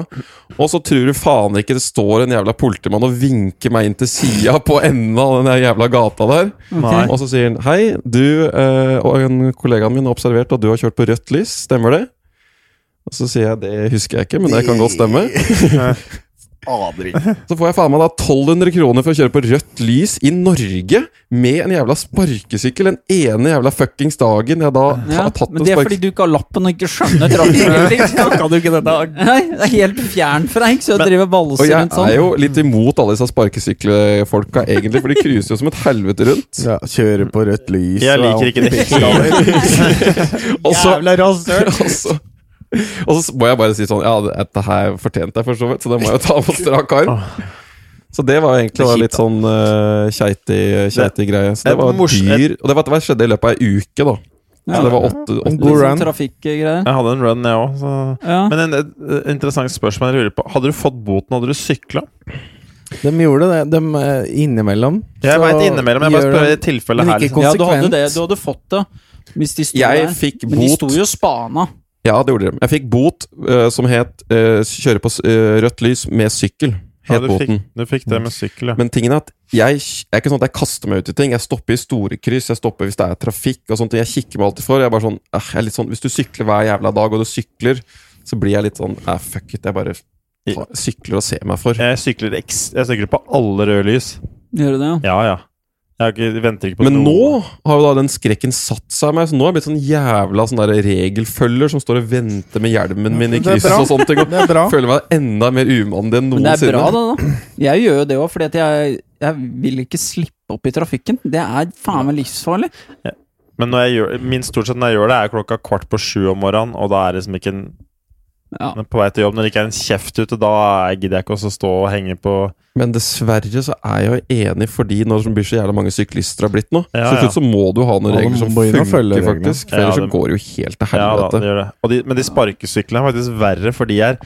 S3: Og så tror du faen ikke det står en jævla politimann og vinker meg inn til sida på enden av den der jævla gata der.
S2: Nei.
S3: Og så sier han hei, du eh, og en kollegaen min har observert at du har kjørt på rødt lys, stemmer det? Og så sier jeg det husker jeg ikke, men det kan godt stemme. Så får jeg faen meg da 1200 kroner for å kjøre på rødt lys i Norge med en jævla sparkesykkel den ene jævla fuckings dagen jeg da
S1: Ja,
S3: har tatt
S1: men
S3: en
S1: det er fordi
S3: sparkesykkel.
S1: du ikke har lappen og ikke skjønner traktoren.
S5: kan du ikke dette.
S1: Nei, det er helt fjern fra deg, så jeg driver og
S3: Og
S1: valser
S3: jeg
S1: rundt sånn.
S3: er jo litt imot alle disse sparkesykkelfolka, egentlig, for de cruiser jo som et helvete rundt.
S5: Ja, kjøre på rødt lys
S2: Jeg liker ikke det hele
S3: Og så,
S5: Jævla rasshøl!
S3: og så og så må jeg bare si sånn Ja, dette her fortjente jeg, for så vidt, så det må jeg jo ta på strak arm.
S2: Ah.
S3: Så det var jo egentlig da litt sånn eh, keitig keitig greie. Så det
S2: Et
S3: var
S2: mors-
S3: dyr. Og det, var, det skjedde i løpet av ei uke, da.
S1: Ja.
S3: Så altså, det var åtte,
S5: En
S3: åtte
S5: god
S1: Litt
S5: run.
S1: sånn trafikkgreier.
S2: Jeg hadde en run, jeg òg. så-
S1: Ja.
S2: Men en, et, et interessant spørsmål jeg lurer på. Hadde du fått boten, hadde du sykla?
S5: De gjorde det, de eh, innimellom.
S2: Jeg
S5: så
S2: veit innimellom. Jeg bare
S5: gjør
S2: spør i
S5: de-
S2: det tilfellet
S5: Men
S2: her.
S5: ikke
S2: liksom.
S1: Ja, du hadde
S5: konsekvent.
S1: det. Du hadde fått det. Hvis de sto
S3: Jeg
S1: der.
S3: fikk
S1: Men de
S3: bot.
S1: sto jo spana.
S3: Ja, det gjorde de. Jeg fikk bot eh, som het eh, 'kjøre på s- eh, rødt lys med sykkel'.
S2: Ja,
S3: het
S2: du, fikk,
S3: båten.
S2: du fikk det med sykkel, ja.
S3: Men tingen er at jeg, jeg er ikke sånn at jeg kaster meg ut i ting. Jeg stopper i store kryss, jeg stopper hvis det er trafikk og sånt. Jeg kikker meg alltid for. Jeg er bare sånn, eh, jeg er litt sånn Hvis du sykler hver jævla dag, og du sykler, så blir jeg litt sånn eh, Fuck it, jeg bare ta, sykler og ser meg for.
S2: Jeg sykler, eks, jeg sykler på alle røde lys.
S1: Gjør du det, ja?
S2: Ja, ja. Jeg har ikke, venter ikke på
S3: Men
S2: noe.
S3: nå har jo da den skrekken satt seg i meg, så nå har jeg blitt sånn jævla sånn der regelfølger som står og venter med hjelmen min i
S5: Det er
S3: krysset
S5: bra.
S3: og sånne ting. Og
S5: Det er bra.
S3: føler meg enda mer umandig enn
S1: Men det er
S3: noensinne.
S1: bra, det, da. Jeg gjør jo det òg, fordi at jeg, jeg vil ikke slippe opp i trafikken. Det er faen meg livsfarlig.
S2: Men når jeg gjør, min stort sett når jeg gjør det, er klokka kvart på sju om morgenen, og da er det liksom ikke en
S1: Ja.
S2: På vei til jobb, når det ikke er en kjeft ute, da er- gidder jeg ikke også stå og henge på
S3: Men dessverre så er jeg jo enig, fordi når det blir så jævla mange syklister har blitt nå,
S2: Ja,
S3: så til slutt så må du ha noen
S5: Ja, du
S3: regler som
S5: må inn og
S3: funker,
S5: følge reglene.
S3: faktisk. For
S2: Ja,
S3: ellers så
S2: det-
S3: går det jo helt til
S2: Ja da,
S3: helvete.
S2: det gjør det. Og de, men de sparkesyklene er faktisk verre, for de er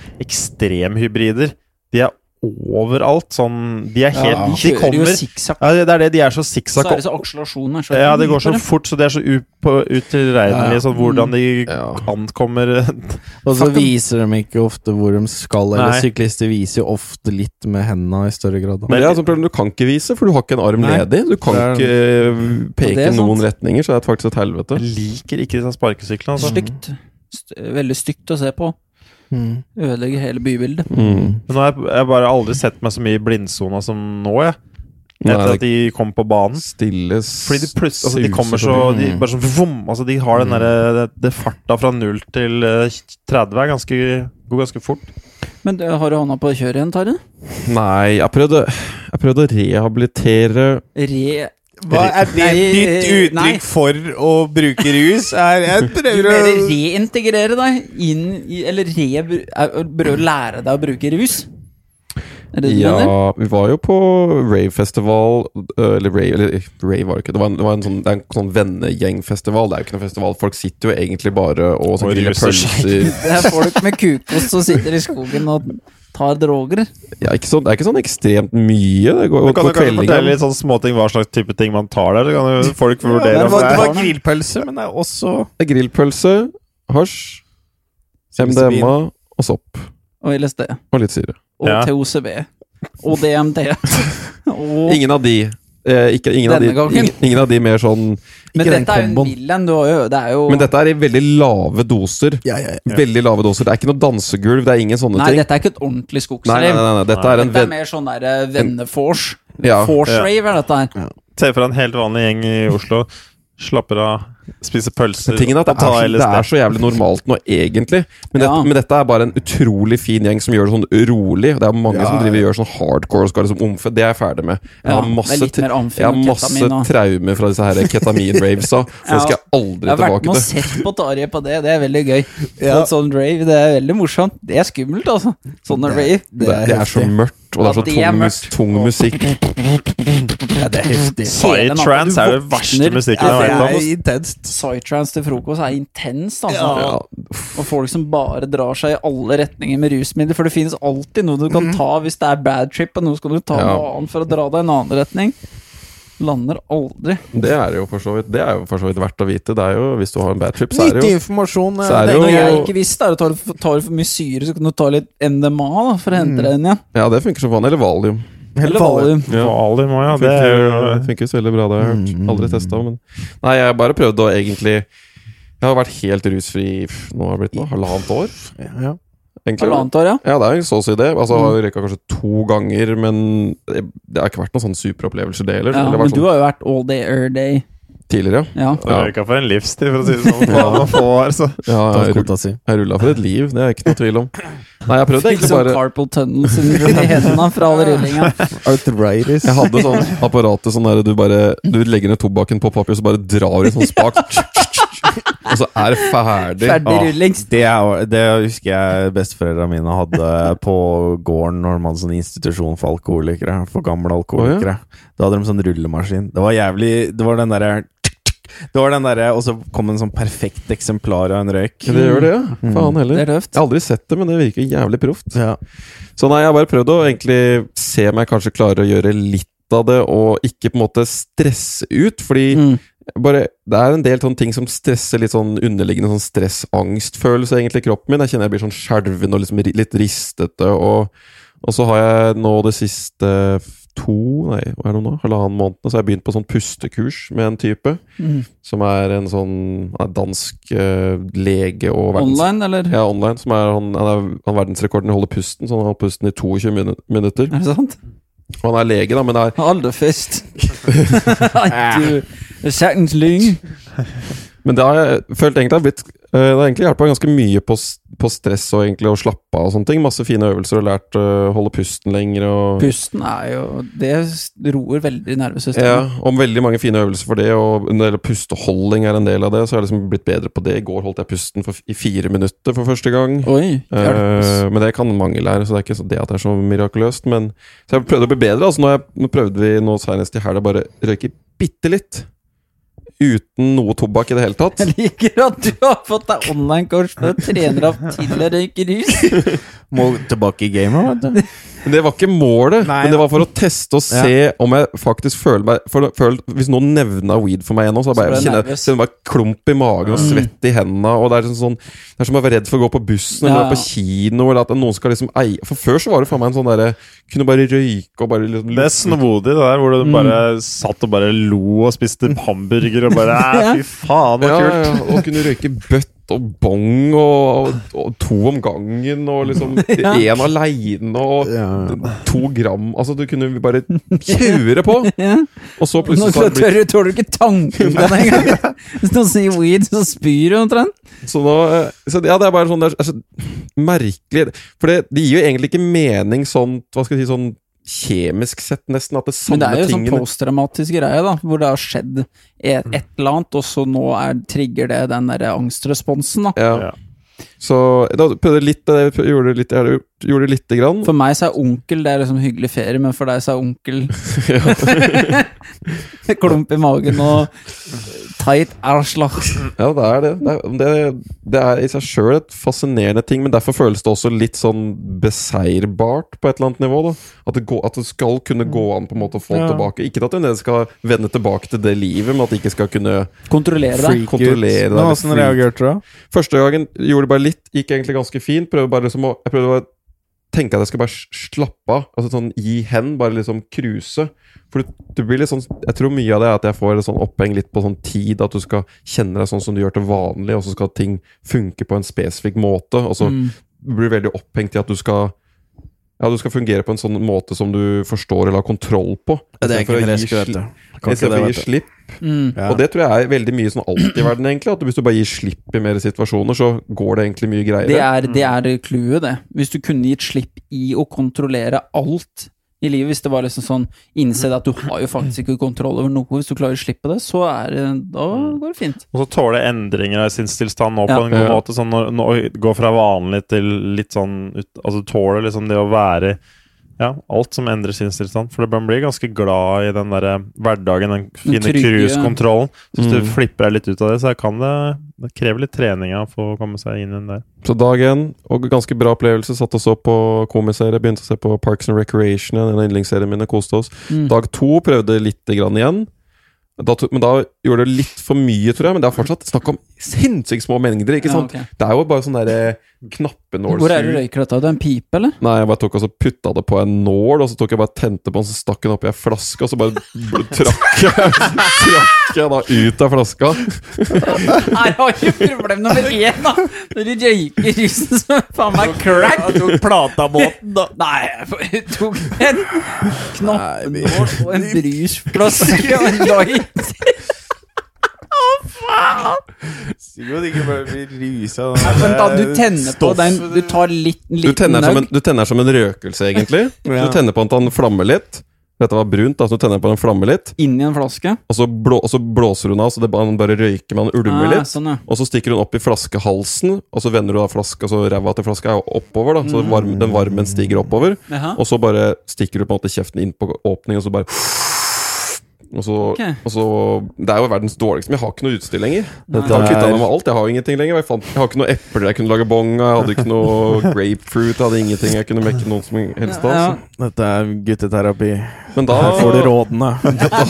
S2: ekstremhybrider. De er overalt sånn De er helt
S1: Ja,
S2: De
S1: kjører jo
S2: kommer
S1: sikksakk,
S2: ja, Det er det, de er så
S1: så er
S2: sikksakk.
S1: det så akselerasjonen er så
S2: Ja, det går så
S1: liten.
S2: fort, så de er så u- på- utilregnelige, sånn hvordan de
S3: Ja.
S2: ankommer
S5: Og så
S1: Fuck 'em.
S5: viser de ikke ofte hvor de skal, eller
S2: Nei.
S5: syklister viser jo ofte litt med hendene i større grad. Da.
S3: Men det er altså et sånt problem, Du kan ikke vise, for du har ikke en arm
S5: Nei.
S3: ledig. Du kan
S5: Det er-
S3: ikke eh,
S1: Ja,
S3: peke
S1: det er sant.
S3: noen retninger, så det er faktisk et helvete.
S2: Jeg liker ikke disse sparkesyklene, altså.
S1: Stygt. St veldig stygt å se på.
S5: Mm.
S1: Ødelegger hele bybildet.
S2: Mm.
S3: Mm.
S2: Men nå har jeg, jeg har bare aldri sett meg så mye i blindsona som nå, jeg.
S3: Nei,
S2: Etter at
S3: det-
S2: de kom på banen.
S3: Stille
S2: Mm. Fordi de plutselig altså, De kommer så
S3: suser forbi.
S2: De bare sånn vroom, Altså, de har
S3: Mm.
S2: den derre det, det farta fra 0 til eh, 30 er ganske Går ganske fort.
S1: Men eh, har du hånda på kjøret igjen, Tarjei?
S3: Mm. Nei, jeg prøvde, jeg prøvde å rehabilitere
S1: Re...
S5: Hva er det
S1: Nei,
S5: ditt
S1: eh, nei.
S5: uttrykk for å bruke rus? Er jeg prøver å
S1: Eller reintegrere deg inn i Eller re... Prøve å lære deg å bruke rus? Er det det du
S3: Ja,
S1: mener?
S3: vi var jo på ravefestival øh, Eller rave, eller rave var det ikke. Det var en, det var en sånn, det er en sånn vennegjengfestival. Det er jo ikke noen festival. Folk sitter jo egentlig bare og
S2: Og
S3: sånn, griller
S2: ruser
S3: pølser.
S1: Det er folk med kukost som sitter i skogen og tar droger.
S3: Ja, ikke sånn, det er ikke sånn ekstremt mye. Det går
S2: Kan du,
S3: jo på
S2: kan du fortelle
S3: kveldinga.
S2: litt sånn småting hva slags type ting man tar der? Så kan jo folk vurdere
S5: det
S2: om
S5: var,
S2: det
S5: det
S2: er
S5: var grillpølse, men det er også
S3: Grillpølse, hasj, MDMA og sopp.
S1: Og LSD.
S3: Og litt syre.
S1: Og
S2: Ja.
S1: TOCB. Og DMT. Og,
S3: Ingen av de. Eh, ikke, ingen, av de
S1: Denne gangen.
S3: ingen, ingen av de mer sånn
S1: men
S5: ikke den
S1: dette er jo en
S5: komboen.
S1: villain. Du har jo, det er jo
S3: Men dette er i veldig lave doser.
S5: ja, ja, ja.
S3: Veldig lave doser Det er ikke noe dansegulv, det er ingen sånne
S1: Nei,
S3: ting.
S1: dette er ikke et ordentlig
S3: Nei, nei,
S1: skogsrev.
S3: nei, nei, dette er en
S1: Dette er
S3: venn...
S1: mer sånn derre vennefors.
S3: Ja.
S1: Force rave er dette her.
S2: Se for deg en helt vanlig gjeng i Oslo. Slapper av, spiser pølser
S3: Tingen er at det er, så, det er så jævlig normalt nå, egentlig.
S1: Ja.
S3: Men, dette, men dette er bare en utrolig fin gjeng som gjør det sånn rolig. Det er mange som driver og gjør sånn hardcore og skal liksom omfe. Det er jeg ferdig med. Jeg
S1: Ja,
S3: har masse,
S1: det er litt
S3: te-
S1: mer amfin
S3: jeg har
S1: og
S3: masse
S1: ketamin og-
S3: traumer fra disse her ketamin-ravesa. Så
S1: Ja.
S3: det skal jeg
S1: Jeg
S3: aldri
S1: har vært
S3: tilbake
S1: med og
S3: til.
S1: sett på Tarjei på det, det er veldig gøy. På et sånt rave, det er veldig morsomt. Det er skummelt, altså. Sånne rave.
S3: Det er, det er så mørkt, og det er så
S1: Ja, det er
S3: tung, mus
S1: mørkt.
S3: tung musikk.
S5: Ja, det er heftig.
S1: Hele natta,
S2: Psytrance
S1: du
S2: er jo den verste
S1: våkner.
S2: musikken
S1: Ja, det
S2: jeg vet om.
S1: er-
S2: ass.
S5: intenst.
S1: Psytrance til frokost er intenst, altså.
S3: Ja,
S1: Og folk som bare drar seg i alle retninger med rusmidler. For det finnes alltid noe du kan ta hvis det er bad trip, og nå skal du ta
S3: Mhm. Ja.
S1: noe annet for å dra deg i en annen retning. Lander aldri.
S3: det er jo for så vidt Det er jo for så vidt verdt å vite. Det er jo, hvis du har en bad trip, så er det
S5: Nyttig
S3: jo
S5: informasjon. eh,
S3: Så er det
S1: Når
S3: jo-
S1: jeg ikke visste, er at tar du for- tar du for mye syre, så kan du ta litt NDMA da, for å
S3: Mhm.
S1: hente deg inn igjen.
S3: Ja, det funker som faen. Eller valium.
S1: Eller valium.
S2: Valium òg, ja. Det er
S3: Funker,
S2: jo Mm.
S3: funker så veldig bra, det har jeg hørt. Aldri testa, men Nei, jeg bare prøvde å egentlig Jeg har vært helt rusfri i pff, nå har det blitt nå, halvannet år,
S5: Ja.
S3: egentlig.
S1: Halvannet Mm. år, ja.
S3: Ja, det er jo så å si det. Altså, jeg har røyka kanskje to ganger, men det det har ikke vært noen sånn superopplevelser, det heller.
S1: ja.
S3: Ja, det har
S1: Men
S3: vært
S1: du
S3: sånn
S1: har jo vært all day, er day.
S3: tidligere,
S1: Ja.
S3: Ja.
S2: Røyka for en livstid, for å si det sånn. Hva man får, så.
S3: ja. ja
S5: Takk,
S3: jeg rull-
S5: kota si.
S3: jeg rulla for et liv, det er jeg ikke noe tvil om. Nei, jeg prøvde
S1: Fikk
S3: egentlig
S1: sånn
S3: bare
S1: carpal tunnel syndrome i hendene fra all rullinga.
S5: Arthritis.
S3: jeg hadde sånn apparatet sånn der du bare Du legger ned tobakken på papir, så bare drar du sånn spak, og så er det ferdig.
S1: Ferdig rullings.
S5: Det, er, det husker jeg besteforeldrene mine hadde på gården når de hadde sånn institusjon for alkoholikere. For gamle alkoholikere. Da hadde de sånn rullemaskin. Det var jævlig Det var den derre Det var den derre Og så kom en sånn perfekt eksemplar av en røyk.
S3: Ja, Det gjør det, ja. Faen heller.
S1: Mm. Det er tøft.
S3: Jeg har aldri sett det, men det virker jævlig proft.
S5: Ja.
S3: Så nei, jeg har bare prøvd å egentlig se om jeg kanskje klarer å gjøre litt av det, og ikke på en måte stresse ut, fordi
S1: Mm.
S3: bare, det er en del sånne ting som stresser litt sånn underliggende sånn stress-angstfølelse egentlig i kroppen min. Jeg kjenner jeg blir sånn skjelven og liksom ri- litt ristete og Og så har jeg nå det siste f- to, nei, hva er det nå? Halvannen måneden, så har jeg begynt på sånn pustekurs med en type.
S1: Mm.
S3: Som er en sånn han er dansk eh, lege og verdens...
S1: Online, eller?
S3: Ja, online. Som er, han, han er han har verdensrekorden i å holde pusten, så han holder pusten i 22 minu- minutter.
S1: Er det sant?
S3: Og han er lege, da, men det er
S1: Aller først. Nei, du Saktens lyng.
S3: Men det har jeg følt egentlig har blitt eh, Det har egentlig hjulpet ganske mye på, s- på stress og egentlig å slappe av og sånne ting. Masse fine øvelser og lært eh, å holde pusten lenger og
S1: Pusten er jo Det roer veldig
S3: ja,
S1: nervesystemet.
S3: om veldig mange fine øvelser for det, og en del pusteholding er en del av det. Så jeg har liksom blitt bedre på det. I går holdt jeg pusten for, f- i fire minutter for første gang.
S1: Oi.
S3: Eh, men det kan mange lære, så det er ikke så det at det er så mirakuløst. Men, så jeg prøvde å bli bedre. Altså, nå, har jeg, nå prøvde vi nå senest i helga bare røyke bitte litt. Uten noe tobakk i det hele tatt.
S1: Jeg liker at du har fått deg online-kurs for trener av tidligere røykerus.
S5: Må tilbake i gamer, vet du.
S3: Men Det var ikke målet,
S5: Nei,
S3: men det var for å teste og
S5: Ja.
S3: se om jeg faktisk føler meg for, føler, Hvis noen nevna weed for meg ennå, så
S1: Så
S3: bare
S1: ble
S3: jeg
S1: jeg
S3: kjenner
S1: nervøs.
S3: kjenner bare klump i magen og svett i hendene. Og det er liksom sånn Det er som å være redd for å gå på bussen eller
S1: Ja.
S3: være på kino, eller at noen skal liksom eie For før så var det for meg en sånn derre Kunne bare røyke og bare liksom
S6: Det er snodig, det der, hvor du bare satt og bare lo og spiste hamburger og bare
S1: Ja.
S6: "Æ, Fy faen,
S3: ja,
S6: så kult!
S3: ja, og kunne røyke bøtt og bong og, og, og to om gangen og liksom én aleine og to gram Altså, du kunne bare kjøre på,
S1: Ja.
S3: og så
S1: Nå
S3: plutselig så har det
S1: tør,
S3: blitt
S1: tør du ikke tanken på det engang. Hvis noen sier weed, så spyr du omtrent.
S3: Så nå eh, så, Ja, det er bare sånn Det er så altså, merkelig. For det, det gir jo egentlig ikke mening sånn Hva skal vi si sånn kjemisk sett, nesten, at det
S1: Men
S3: samme
S1: det er jo sånn
S3: tingene
S1: posttraumatisk greie, da, hvor det har skjedd et, et eller annet, og så nå er, trigger det den derre angstresponsen, da.
S3: ja. Så da prøvde jeg litt det jeg gjorde litt, jeg gjorde- gjorde lite grann.
S1: For meg så er onkel det er liksom hyggelig ferie, men for deg så er onkel klump i magen og tight arslach.
S3: Ja, det er det. Det er, det, det er i seg sjøl et fascinerende ting, men derfor føles det også litt sånn beseirbart på et eller annet nivå. da At det, går, at det skal kunne gå an på en måte å få
S2: Ja.
S3: tilbake. Ikke at en skal vende tilbake til det livet, men at det ikke skal kunne
S1: Kontrollere deg.
S3: kontrollere
S5: Men
S3: deg.
S5: Åssen reagerte du, da?
S3: Første gangen gjorde det bare litt, gikk egentlig ganske fint. Prøvde bare liksom å, jeg prøvde bare å tenke at jeg skal bare s- slappe av. Altså sånn gi hen, bare liksom cruise. For du, du blir litt sånn Jeg tror mye av det er at jeg får litt sånn oppheng litt på sånn tid, at du skal kjenne deg sånn som du gjør til vanlig, og så skal ting funke på en spesifikk måte. Og så
S1: Mm.
S3: blir du veldig opphengt i at du skal ja, du skal fungere på en sånn måte som du forstår eller har kontroll på. Istedenfor å gi sli- istedenfor å gi slipp
S1: Mm.
S5: Ja.
S3: og det tror jeg er veldig mye sånn alt i verden, egentlig. At hvis du bare gir slipp i mer situasjoner, så går det egentlig mye
S1: Det
S3: greiere.
S1: er, det er clouet, det. Hvis du kunne gitt slipp i å kontrollere alt i livet, hvis det var liksom sånn Innse at du har jo faktisk ikke kontroll over noe. Hvis du klarer å slippe det, så er det Da går det fint.
S6: Og så tåle endringer av sinnstilstand nå
S1: Ja.
S6: på en god
S3: Ja.
S6: måte. Sånn når, når gå fra vanlig til litt sånn ut- Altså tåle liksom det å være Ja, alt som endrer sinnstilstand. For man blir ganske glad i den derre hverdagen, den fine
S1: trygge-
S6: cruisekontrollen. Så hvis
S3: Mm.
S6: du flipper deg litt ut av det, så kan det Det krever litt trening av for å komme seg inn i den der.
S3: Så dagen, og ganske bra opplevelse. Satt og så på komiserie, begynte å se på Parks and Recreation, en av yndlingsseriene mine, koste oss.
S1: Mm.
S3: Dag to prøvde lite grann igjen. Da, to- men da gjorde det litt for mye, tror jeg. Men det er fortsatt snakk om sinnssykt små mengder. ikke
S1: Ja,
S3: sant?
S1: ok.
S3: Det er jo bare sånn derre knappenålsug.
S1: Hvor er det du røyker dette? Det er en pipe, eller?
S3: Nei, jeg bare tok og så putta det på en nål, og så tok jeg bare tente på den, så stakk den oppi ei flaske, og så bare bl- trakk jeg, trakk jeg da ut av flaska.
S1: Her har jo problem nummer én, da! Når du røyker rusen som faen meg crack!
S5: Jeg tok plata båten, da.
S1: Nei, jeg tok en knappenål og en brusflaske og en light.
S5: Sikkert ikke bare blir rusa.
S1: Men da du tenner på den Du tar litt,
S3: Eh, Du
S1: liten
S3: tenner, som
S1: nøgg.
S3: en, du tenner som en røkelse, egentlig.
S5: Ja.
S3: Du tenner på at den flammer litt. Dette var brunt, da, så du tenner på at den flammer litt,
S1: Inni en flaske.
S3: og så, blå, og så blåser hun av, så det bare, den bare røyker med den
S1: Ah,
S3: ulmer litt.
S1: sånn, ja.
S3: Og så stikker hun opp i flaskehalsen, og så vender du da flaska, så ræva til flaska er oppover, da, så varm, den varmen stiger oppover.
S1: Jaha.
S3: Og så bare stikker du på en måte kjeften inn på åpningen, og så bare og så, og så Det er jo verdens dårligste, men jeg har ikke noe utstyr lenger. Jeg har kvittet meg med alt, jeg har jo ingenting lenger. Jeg, fant, jeg har ikke noe epler jeg kunne lage bong av, jeg hadde ikke noe grapefruit, jeg hadde ingenting jeg kunne mekke noen som helst av.
S1: Ja,
S3: så.
S5: Dette er gutteterapi.
S3: Men da
S5: Her får du rådene.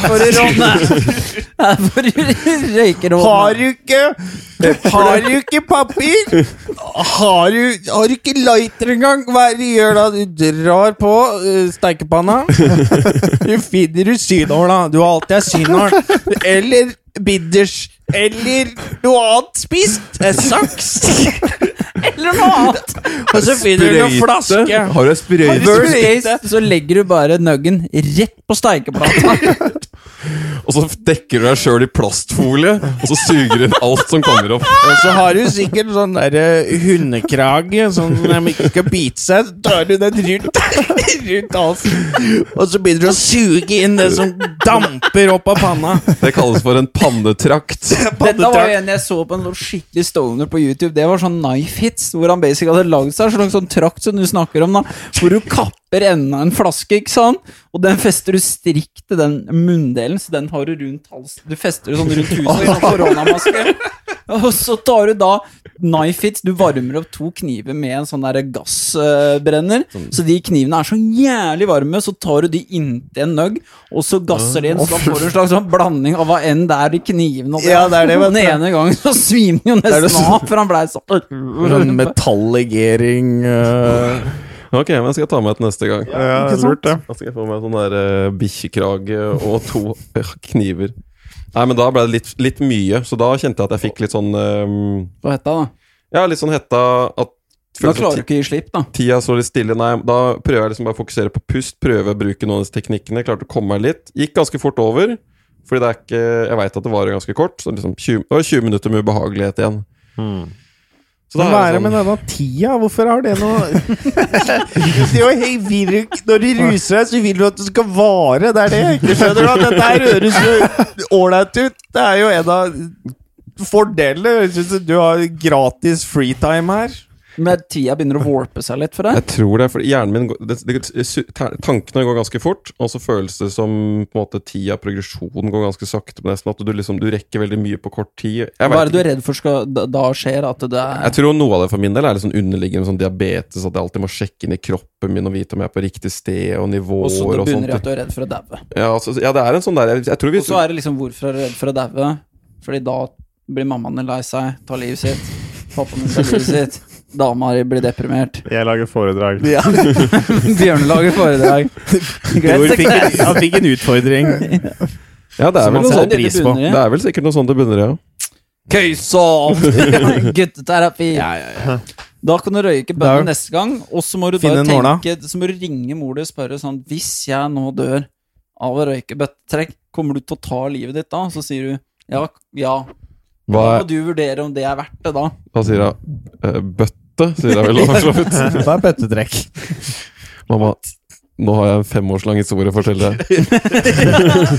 S1: For rådene! For røykerådene!
S5: du ikke Har du ikke papir? Har du, har du ikke lighter engang? Hva er det du gjør da? Du drar på eh, steikepanna. Du finner du synåla. Du har alltid ei synål. Eller bidders. Eller noe annet spist. Eh, Saks. Eller noe annet. Og så finner du en flaske.
S3: Har du ei sprøyte?
S1: Worst case, så legger du bare nuggen rett på steikeplata.
S3: Og så dekker du deg sjøl i plastfolie, og så suger du inn alt som kommer opp.
S5: Og så har du sikkert sånn derre hundekrage, sånn at de ikke skal bite seg. Så tar du den rundt, rundt halsen, og så begynner du å suge inn det som damper opp av panna.
S3: Det kalles for en pannetrakt.
S1: Dette var jo en jeg så på en sånn skikkelig stoner på YouTube. Det var sånn knife hits, hvor han basically hadde lagd seg en slags sånn trakt som du snakker om, da. Hvor du kapper enden av en flaske, ikke sant? Og den fester du strikk til den munndelen, så den har du rundt halsen. Du fester det sånn rundt huset i sånn koronamaske. Og så tar du da knife hits. Du varmer opp to kniver med en sånn der gassbrenner. Så de knivene er så jævlig varme, så tar du de inntil en nugg, og så gasser de inn. Så da får du en slags sånn blanding av hva enn det er i knivene. og det
S5: Ja, det er det, vet
S1: den
S5: du.
S1: ene gangen så svimte han jo
S5: Det er det
S1: nesten
S5: som-
S1: av, for han blei
S5: Sånn
S1: sånn
S5: metallegering eh,
S3: Ok, men jeg skal ta med et neste gang.
S6: Ja, lurt, det.
S3: Da skal jeg få meg sånn der uh, bikkjekrage og to eh, kniver. Nei, men da ble det litt, litt mye, så da kjente jeg at jeg fikk litt sånn eh,
S1: Hva het det, da?
S3: Ja, litt sånn hetta at
S1: Da
S3: føles som
S1: klarer du ikke å gi slipp, da.
S3: Tida står litt stille. Nei, da prøver jeg liksom bare å fokusere på pust, prøve å bruke noen av disse teknikkene. Klarte å komme meg litt. Gikk ganske fort over, fordi det er ikke Jeg veit at det varer ganske kort. Så liksom 20, det var 20 minutter med ubehagelighet igjen. Så da
S5: Hmm. Men Hva
S3: er
S5: er det
S3: det
S5: med
S3: sånn
S5: denne tida? Hvorfor har det noe Det er jo helt virk. Når du ruser deg, så vil du at det skal vare. Det er det jeg ikke skjønner. da. Dette her høres jo ålreit ut. Det er jo en av fordelene. Jeg synes Du har gratis freetime her.
S1: Men tida begynner å warpe seg litt for deg.
S3: Jeg tror det, er fordi hjernen min går- det, det, su- ta- Tankene går ganske fort, og så føles det som på en måte tida, progresjonen, går ganske sakte. Men det er sånn at du liksom Du rekker veldig mye på kort tid.
S1: Hva
S3: Jeg vet
S1: er det du
S3: ikke.
S1: er redd for skal da, da skjer? At det er
S3: Jeg tror noe av det for min del er litt sånn underliggende sånn diabetes, at jeg alltid må sjekke inn i kroppen min og vite om jeg er på riktig sted, og nivåer
S1: Og
S3: og
S1: så
S3: sånt.
S1: du begynner i at du er redd for å daue.
S3: Ja, altså, ja, det er en sånn der Jeg, jeg tror vi
S1: Og så er det liksom hvorfor er du redd for å daue? Fordi da blir mammaen din lei seg, tar livet sitt. Pappaen din tar livet sitt. Dama di blir deprimert.
S6: Jeg lager foredrag.
S1: Bjørnelager foredrag.
S5: Bror
S1: Great
S5: fikk,
S1: success.
S5: han fikk en utfordring.
S3: Ja, det er, vel
S5: som man
S3: noe
S5: setter
S3: sånt,
S1: det
S5: pris
S1: det
S5: på.
S1: bunner i.
S3: det er vel sikkert noe sånt det bunner i, ja.
S1: Køysomt! Gutteterapi. Da kan du røyke
S5: Da-
S1: bønnen neste gang, og så må du
S5: Finne
S1: bare
S5: en nåla.
S1: tenke Så må du ringe mor di og spørre sånn Hvis jeg nå dør av å røyke bøttetrekk, kommer du til å ta livet ditt da? Så sier du ja. ja.
S3: Hva,
S1: Da må
S3: er-
S1: du vurdere om det er verdt det da.
S3: hva sier hun? Eh, Bøtte, sier hun vel for så vidt.
S5: Det er bøttetrekk.
S3: Mamma, nå har jeg en femårslang historie å fortelle deg.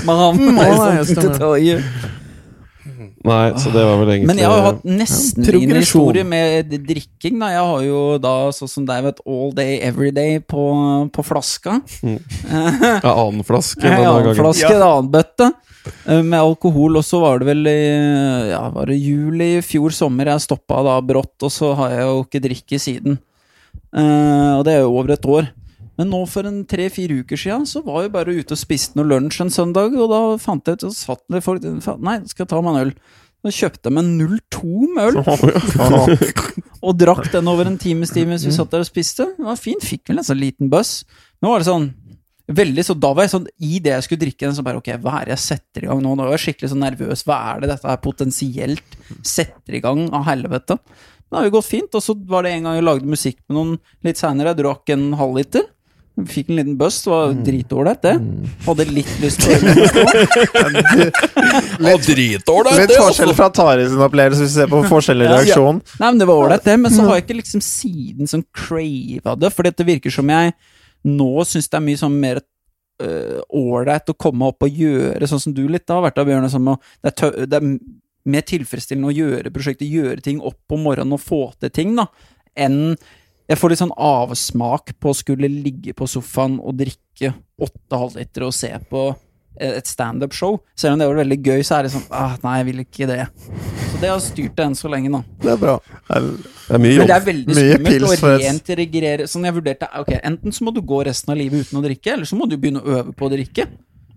S1: Men han
S5: Mm,
S1: er
S5: å, nei,
S1: sånn
S5: stemmer.
S1: detaljer.
S3: Nei, så det var vel egentlig
S1: Men jeg har jo hatt nesten
S5: Ja,
S1: min
S5: progresjon.
S1: historie med drikking. da Jeg har jo da sånn som deg, vet all day, every day på, på flaska.
S3: Jeg har annen flaske
S1: En
S3: denne
S1: annen
S3: gangen.
S1: flaske, en annen bøtte eh, med alkohol. Og så var det vel i ja, var det juli i fjor sommer jeg stoppa da brått, og så har jeg jo ikke drikke siden. Eh, og det er jo over et år. Men nå for en tre-fire uker sia så var jeg bare ute og spiste noe lunsj en søndag, og da fant jeg ut så satt det folk fa- Nei, skal jeg ta meg en øl? Så kjøpte jeg meg 02 med øl, og drakk den over en times tid mens vi satt der og spiste. Det var fint, fikk vel en sånn liten buss. Nå var det sånn Veldig, så da var jeg sånn, I det jeg skulle drikke den, så bare Ok, hva er det jeg setter i gang nå? Da var jeg skikkelig sånn nervøs. Hva er det dette her potensielt setter i gang av helvete? Men det har jo gått fint. Og så var det en gang jeg lagde musikk med noen litt seinere. Jeg drakk en halvliter. Fikk en liten buzz. Det var dritålreit, det. Hadde litt lyst på øl.
S3: Å, dritålreit,
S5: Litt forskjell fra Tare sin opplevelse, hvis vi ser på forskjell i reaksjon.
S1: Nei, men det var ålreit, det. Men så har jeg ikke liksom siden sånn crava det. For det virker som jeg nå syns det er mye sånn mer øh, ålreit å komme opp og gjøre sånn som du litt da har vært da, Bjørne. Som å, det, er tø det er mer tilfredsstillende å gjøre prosjekter, gjøre ting opp om morgenen og få til ting, da, enn jeg får litt sånn avsmak på å skulle ligge på sofaen og drikke åtte halvlitere og se på eh, et standup-show. Selv om det var veldig gøy, så er det sånn ah, Nei, jeg vil ikke det. Så det har styrt det enn så lenge, da.
S5: Det er bra.
S3: Det er mye
S1: Men
S3: jobb.
S1: det er veldig
S6: Mye
S1: skummelt
S6: pils
S1: å
S6: for et-
S1: reintegrere Sånn jeg vurderte ok, Enten så må du gå resten av livet uten å drikke, eller så må du begynne å øve på å drikke.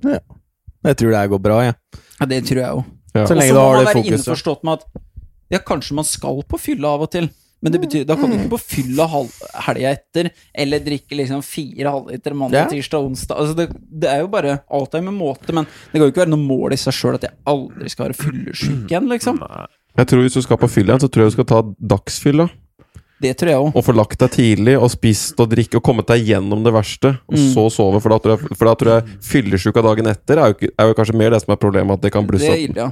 S5: Jeg tror det her går bra, jeg.
S1: Ja, Det tror jeg jo.
S3: Ja.
S5: Så
S1: Og
S5: lenge
S1: så
S5: du
S1: må
S5: har
S1: man
S5: det
S1: være
S5: fokuset.
S1: innforstått med at ja, kanskje man skal på fylla av og til. Men det betyr, da kan du ikke på fylla hal- helga etter, eller drikke liksom fire halvliter mandag,
S5: Ja.
S1: tirsdag, onsdag. Altså det, det er jo bare Alt er med måte, men det kan jo ikke være noe mål i seg sjøl at jeg aldri skal være fyllesyk igjen, liksom.
S3: Jeg tror Hvis du skal på fylla igjen, så tror jeg du skal ta dagsfylla.
S1: Det tror jeg òg.
S3: Og få lagt deg tidlig, og spist og drikke, og kommet deg gjennom det verste. Og
S1: Mm.
S3: så sove. For da tror jeg, for da tror jeg fyllesyka dagen etter er jo, ikke- er jo kanskje mer det som er problemet, at det kan
S1: Det
S3: blusse
S1: er
S3: opp.
S1: ille, ja.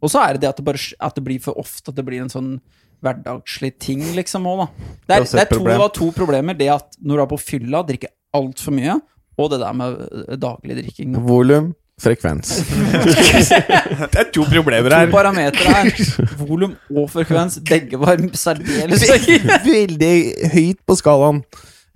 S1: Og så er det det at det, bare, sk- at det blir for ofte at det blir en sånn hverdagslig ting, liksom òg, da. Det, er,
S5: har
S1: det,
S5: sett
S1: er to,
S5: problem.
S1: det var to problemer. Det at når du er på fylla, drikker altfor mye, og det der med ø, daglig drikking.
S5: Volum, frekvens. det er to problemer
S1: To parametere her. Volum og frekvens. Begge var særdeles høye.
S5: Veldig høyt på skalaen.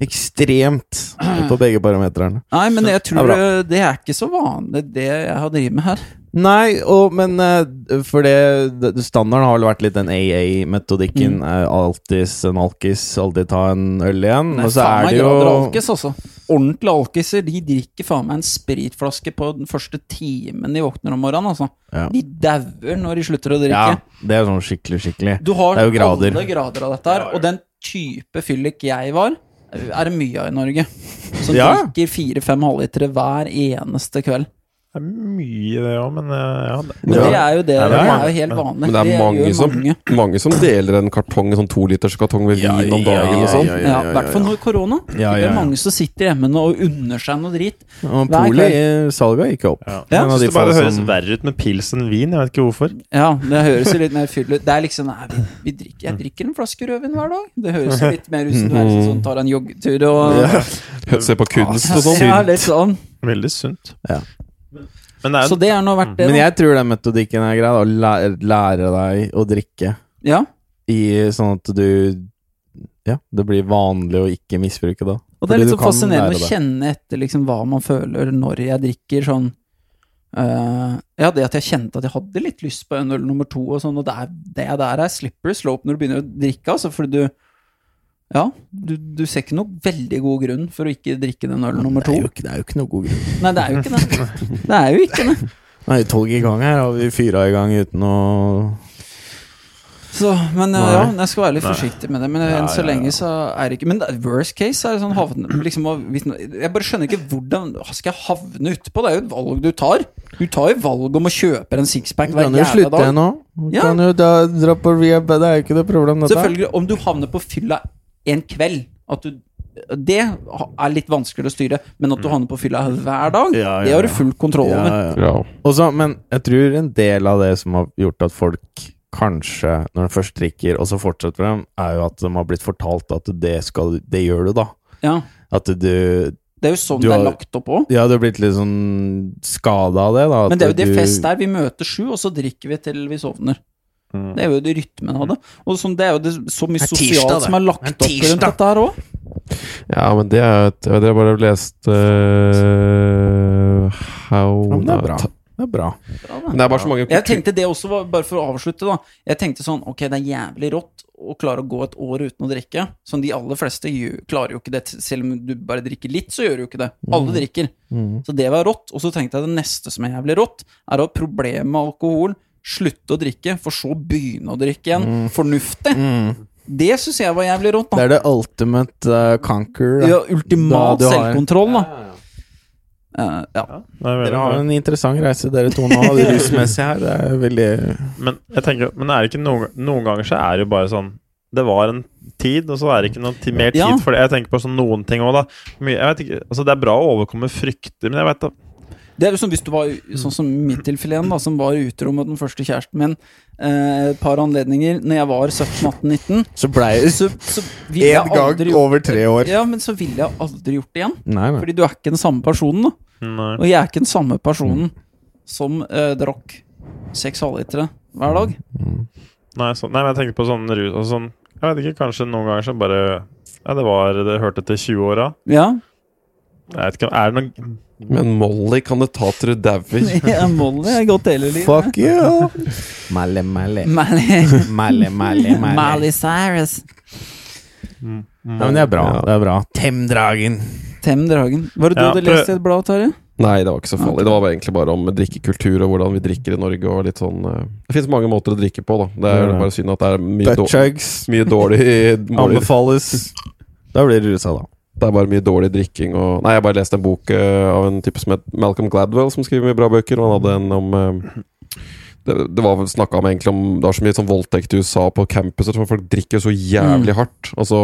S5: Ekstremt på begge parameterne.
S1: Nei, men jeg
S5: Det er
S1: tror
S5: bra.
S1: ø, det er ikke så vanlig, det jeg har drevet med her.
S5: Nei, og, men eh, for det, det Standarden har vel vært litt den
S1: Mm.
S5: AA-metodikken. eh, Alltids en alkis, aldri ta en øl igjen.
S1: Nei,
S5: og så
S1: faen
S5: er
S1: meg
S5: det jo
S1: grader alkis, altså. Ordentlige alkiser de drikker faen meg en spritflaske på den første timen de våkner om morgenen. altså.
S5: Ja.
S1: De dauer når de slutter å
S5: Ja,
S1: drikke.
S5: det er sånn skikkelig, skikkelig.
S1: Du har
S5: Det er jo grader.
S1: alle grader av dette her, og den type fyllik jeg var, er det mye av i Norge. Som
S5: Ja.
S1: drikker fire-fem halvlitere hver eneste kveld.
S6: Det er mye, det òg, men eh, ja, det-
S1: Men det er jo det,
S6: Ja,
S1: det,
S6: det er
S1: er,
S6: mange.
S1: jo helt vanlig.
S3: Men det er mange
S1: gjør
S3: som,
S1: mange.
S3: mange som deler en kartong, en sånn toliterskartong med
S5: Ja,
S3: vin om
S5: ja,
S3: dagen og
S5: ja,
S3: sånn.
S5: ja,
S1: Ja, I hvert fall nå i korona.
S5: Ja,
S1: Det
S5: ja,
S1: er
S5: ja.
S1: mange som sitter hjemme nå og unner seg noe drit.
S5: Og
S1: Hver
S5: Polet eh, salget gikk opp.
S6: ja.
S1: Ja.
S5: En av
S6: Jeg
S5: de
S6: synes det bare
S5: få
S6: høres
S5: som-
S6: verre ut med pils enn vin. Jeg vet ikke hvorfor.
S1: Ja, det høres jo litt mer fyll ut. Det er liksom nei, vi, vi drikker, Jeg drikker en flaske rødvin hver dag. Det høres jo litt mer ut som du er sånn, tar en joggetur og
S3: Se på kunst og sånn.
S1: Ja, litt sånn.
S6: Veldig sunt.
S5: Ja.
S6: Men det er
S1: Så det er nå verdt det.
S5: Men
S1: da.
S5: jeg tror den metodikken er grei. da, Å lære, lære deg å drikke
S1: Ja.
S5: i sånn at du Ja, det blir vanlig å ikke misbruke da.
S1: Og det er
S5: Fordi
S1: litt
S5: du
S1: så
S5: kan
S1: fascinerende
S5: lære
S1: å
S5: det.
S1: kjenne etter liksom hva man føler når jeg drikker sånn eh, Ja, det at jeg kjente at jeg hadde litt lyst på en øl nummer to og sånn, og det, er, det der er slippery slope når du begynner å drikke, altså, fordi du ja, du, du ser ikke noe veldig god grunn for å ikke drikke den ølen nummer
S5: Det
S1: to.
S5: er jo ikke, det er jo ikke noe god grunn.
S1: Nei, det er jo ikke det. Det er jo ikke det.
S5: Nei, tolv i gang her, og vi fyra i gang uten å
S1: Så, men eh,
S5: Nei.
S1: ja, jeg skal være litt forsiktig med det. Men eh, enn så lenge så er det ikke Men det er worst case er sånn havne liksom, å- hvis, Jeg bare skjønner ikke hvordan skal jeg havne utpå? Det er jo et valg du tar. Du tar jo valg om å kjøpe en sixpack
S5: Du
S1: hver
S5: kan jo
S1: jævla
S5: slutte
S1: dag.
S5: nå. Du
S1: Ja.
S5: kan jo da dra på rehab. Det er jo ikke noe problem, dette.
S1: Selvfølgelig, om du havner på fylla en kveld at du, Det er litt vanskeligere å styre, men at du havner på fylla hver dag,
S5: Mm. Ja, ja,
S1: det har du
S5: ja.
S1: full kontroll
S5: Ja,
S1: over.
S5: ja.
S3: Ja.
S5: Også, men jeg tror en del av det som har gjort at folk kanskje, når de først drikker, og så fortsetter de, er jo at de har blitt fortalt at det, skal, det gjør du, da.
S1: Ja,
S5: At du
S1: det er jo sånn
S5: Du
S1: det er
S5: har-
S1: lagt opp òg.
S5: Ja, du har blitt litt sånn skada av det, da. at
S1: Men det er jo det
S5: du-
S1: fest er. Vi møter sju, og så drikker vi til vi sovner. Det er jo det rytmen av det. Og sånn, det er jo det, så mye
S5: Det er tirsdag,
S1: sosialt
S5: det.
S1: som er lagt
S5: Det er
S1: opp rundt
S5: tirsdag.
S1: dette her òg.
S3: ja, men det er et- Jeg har bare lest eh, How
S5: Ja, men det er bra. Det er bra.
S3: Men det er bare så mange
S1: Jeg tenkte det også, var, bare for å avslutte, da. Jeg tenkte sånn, ok, det er jævlig rått å klare å gå et år uten å drikke. Som de aller fleste gjør, klarer jo ikke det. Selv om du bare drikker litt, så gjør du jo ikke det. Alle drikker.
S5: Mm.
S1: Så det var rått. Og så tenkte jeg det neste som er jævlig rått, er å ha problemer med alkohol. Slutte å drikke, for så å begynne å drikke igjen. Fornuftig. Det syns jeg var jævlig rått. da
S5: Det er det ultimate uh, conquer. da.
S1: Ja, ultimat
S5: Da du har-
S1: selvkontroll, da. Eh, ja.
S6: det er veldig
S5: Dere har
S6: bra.
S5: en interessant reise, dere to nå, det rusmessige her. Det er veldig
S6: Men jeg tenker, men er det ikke noen, noen ganger så er det jo bare sånn Det var en tid, og så er det ikke noe ti, mer tid
S1: Ja.
S6: for det. Jeg tenker på sånn noen ting òg, da. Mye, jeg vet ikke, altså det er bra å overkomme frykter, men jeg vet da
S1: Det er jo som hvis du var sånn som mitt tilfelle igjen, da, som var utro med den første kjæresten min eh, et par anledninger når jeg var 17-18-19.
S5: Så blei det
S1: Så, så ville jeg aldri gjort
S5: over tre år.
S1: Ja, men så ville jeg aldri gjort det igjen.
S5: Nei, nei.
S1: Fordi du er ikke den samme personen, da.
S6: Nei.
S1: Og jeg er ikke den samme personen som eh, drakk seks halvlitere hver dag.
S6: Nei, så, nei, men jeg tenkte på sånn rus altså sånn, Jeg vet ikke, kanskje noen ganger så bare Ja, det var Det hørte til 20-åra.
S1: Ja.
S6: Jeg vet ikke, er det noe
S3: Men Molly kan det ta til du dauer.
S1: Molly er godt hele livet.
S5: Fuck you! Mally, mally.
S1: Miley,
S5: Mally, mally, mally.
S1: Miley Cyrus.
S5: Ja, men det er bra. Det er bra. Tem dragen!
S1: Tem dragen. Var det du
S2: Ja,
S1: hadde
S2: prøv-
S1: lest i et blad, Terje?
S3: Nei, det var ikke så farlig. Det var bare egentlig bare om drikkekultur og hvordan vi drikker i Norge. Og litt sånn eh, Det fins mange måter å drikke på, da. Det er
S2: Ja.
S3: bare synd at det er mye,
S5: Butt
S3: dår-
S5: chugs
S3: mye dårlig måler.
S5: anbefales. Da blir det rusa, da.
S3: Det er bare mye dårlig drikking og Nei, jeg har bare lest en bok eh, av en type som het Malcolm Gladwell, som skriver mye bra bøker, og han hadde en om eh, det, det var snakka om egentlig om Det var så mye sånn voldtekt i USA på campuser. Sånn, folk drikker så jævlig hardt. Og så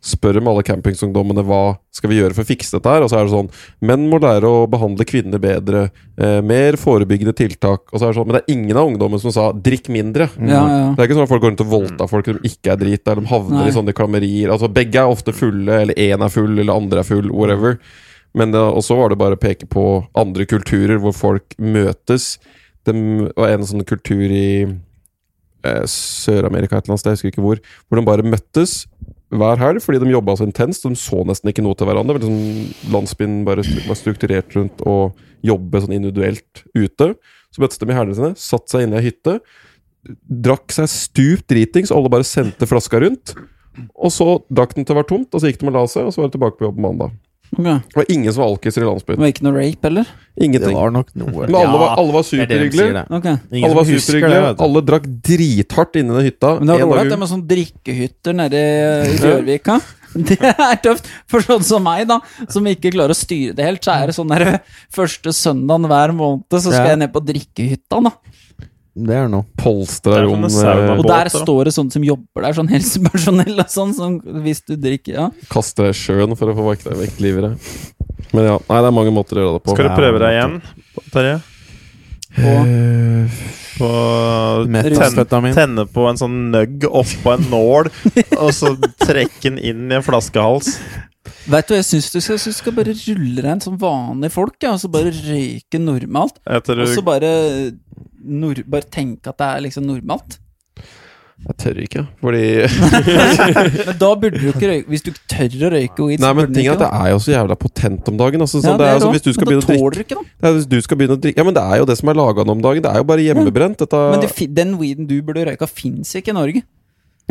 S3: spør de alle campingsungdommene hva skal vi gjøre for å fikse dette her. Og så er det sånn Menn må lære å behandle kvinner bedre. Eh, mer forebyggende tiltak. Og så er det sånn Men det er ingen av ungdommen som sa 'drikk mindre'.
S2: Mm.
S1: Ja, ja.
S3: Det er ikke sånn at folk går rundt og voldtar folk som ikke er drita, eller de havner
S1: Nei.
S3: i sånne klammerier. Altså, begge er ofte fulle, eller én er full, eller andre er full, whatever. Men det, og så var det bare å peke på andre kulturer hvor folk møtes. Det var en sånn kultur i eh, Sør-Amerika et eller annet sted, jeg husker ikke hvor, hvor de bare møttes hver helg fordi de jobba så intenst. De så nesten ikke noe til hverandre. men Liksom, landsbyen bare stru- var strukturert rundt å jobbe sånn individuelt ute. Så møttes de i helgene sine, satte seg inne i ei hytte drakk seg stupt dritings, alle bare sendte flaska rundt. Og så drakk den til det var tomt, og så gikk de og la seg, og så var de tilbake på jobb på mandag.
S1: Ok.
S3: Det var ingen som var alkiser i
S1: Det
S3: landsbyen.
S1: var ikke noe rape, eller?
S5: Det
S3: Ingenting.
S5: var nok noe.
S3: Men alle var, alle var
S5: Ja, det er det de sier,
S3: superhyggelige.
S5: det.
S1: Ok.
S5: Ingen
S3: Alle var
S5: som husker det,
S3: superhyggelige.
S5: vet du.
S3: Alle drakk drithardt inne i den hytta.
S1: Men det var
S3: En dag
S1: ålreit, det
S3: ut-
S1: med sånne drikkehytter nede i Gjørvika. Det er tøft. For sånn som meg, da, som ikke klarer å styre det helt, så er det sånn der første søndagen hver måned, så
S5: Ja.
S1: skal jeg ned på drikkehytta, da.
S5: Det er noe.
S3: polstra
S2: Det er
S3: rom.
S2: sånne sauna-
S3: eh,
S1: Og
S2: Båt,
S1: der
S2: da.
S1: står det sånne som jobber der, sånn helsepersonell og sånn, som hvis du drikker Ja.
S3: eh, Kaste deg i sjøen for å få vekk vekk livet. Men ja, nei, det er mange måter å gjøre det på.
S2: Skal du prøve deg igjen, Terje?
S1: Og
S2: På
S5: Metafetamin.
S2: Tenne på en sånn nøgg oppå en nål, og så trekke den inn i en flaskehals.
S1: vet du hva jeg syns du skal? Jeg syns du skal bare rulle deg en som vanlige folk, ja, og så bare røyke normalt.
S2: Etter
S1: Og
S2: du
S1: så bare, nor bare tenke at det er liksom normalt.
S3: Jeg tør ikke, fordi
S1: Men da burde du ikke røyke Hvis du ikke tør å røyke weed,
S3: Nei,
S1: så
S3: men
S1: burde du
S3: ting er
S1: ikke
S3: at det
S1: da.
S3: er jo så jævla potent om dagen. Altså,
S1: Ja,
S3: sånn, det er, jo sånn,
S1: også.
S3: hvis du skal
S1: Men
S3: begynne å
S1: da
S3: drikke
S1: tåler du ikke, da.
S3: Det er, hvis du skal begynne å drikke Ja, men det er jo det som er laga nå om dagen. Det er jo bare hjemmebrent. Dette,
S1: Men det, fi- den weeden du burde røyke, fins ikke i Norge.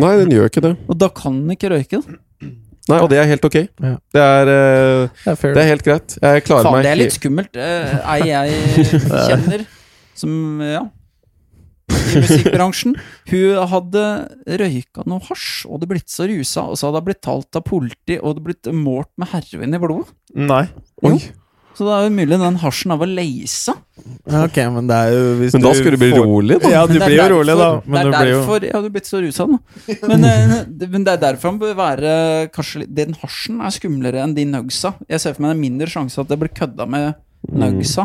S3: Nei, den gjør ikke det.
S1: Og da kan den ikke røyke. Da.
S3: Nei, Og det er helt ok.
S5: Ja.
S3: Det, er, eh,
S5: Det er fair.
S3: det er helt greit. Jeg klarer
S1: Faen,
S3: meg
S1: det er litt
S3: he-
S1: skummelt. Eh, Ei jeg kjenner som eh, Ja. I musikkbransjen. Hun hadde røyka noe hasj, og det blitt så rusa, og så hadde hun blitt talt av politi, og det blitt målt med heroin i blodet.
S2: Nei.
S1: Jo. Så det er jo mulig den hasjen av å leise.
S5: Ja, ok, men det er jo hvis
S3: Men da skulle du bli
S5: får-
S3: rolig, da.
S5: Ja,
S1: Men
S5: du
S1: det er
S5: blir jo
S1: derfor-
S5: rolig, da. Men du
S1: det er
S5: blir jo
S1: derfor Jeg hadde blitt så rusa nå. Men, eh, det- men det er derfor han bør være Kanskje litt- den hasjen er skumlere enn de nugsa. Jeg ser for meg det er mindre sjanse at det blir kødda med
S5: Mm.
S1: nugsa.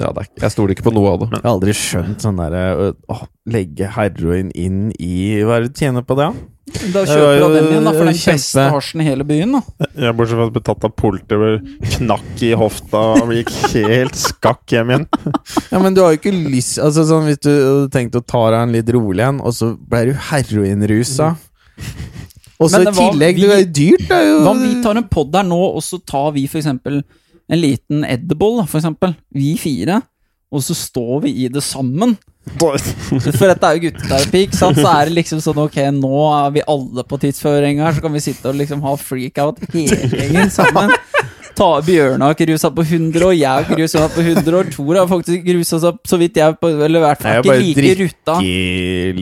S3: ja, det er, ikke- Jeg stoler ikke på noe av det.
S5: Jeg har aldri skjønt sånn derre å, å legge heroin inn i Hva er det du tjener på det, da?
S1: Da
S5: Det var
S1: kjøper
S5: jo
S1: han den igjen, da, for den
S5: kjempe-
S1: beste hasjen i hele byen. da
S2: Ja, bortsett fra at jeg ble tatt av politi, ble knakk i hofta og gikk helt skakk hjem igjen.
S5: Ja, men du har jo ikke lyst Altså sånn Hvis du hadde tenkt å ta deg en litt rolig en, og så ble du heroinrusa Mm. Og så
S1: Men
S5: i
S1: det var-
S5: tillegg Det
S1: vi-
S5: er jo dyrt, det er jo
S1: Hva om vi tar en pod her nå, og så tar vi f.eks. en liten edible, da, for eksempel. Vi fire. Og så står vi i det sammen. For dette er jo gutteterapi, ikke sant? Så er det liksom sånn ok, nå er vi alle på tidsføring her, så kan vi sitte og liksom ha freakout hele gjengen sammen. Ta Bjørnar har ikke rusa på 100, og jeg har ikke rusa meg på 100, og Tor har faktisk ikke rusa seg så vidt jeg på, Eller i hvert
S5: Nei,
S1: fall
S5: jeg
S1: ikke
S5: bare
S1: like
S5: drikker
S1: rutta.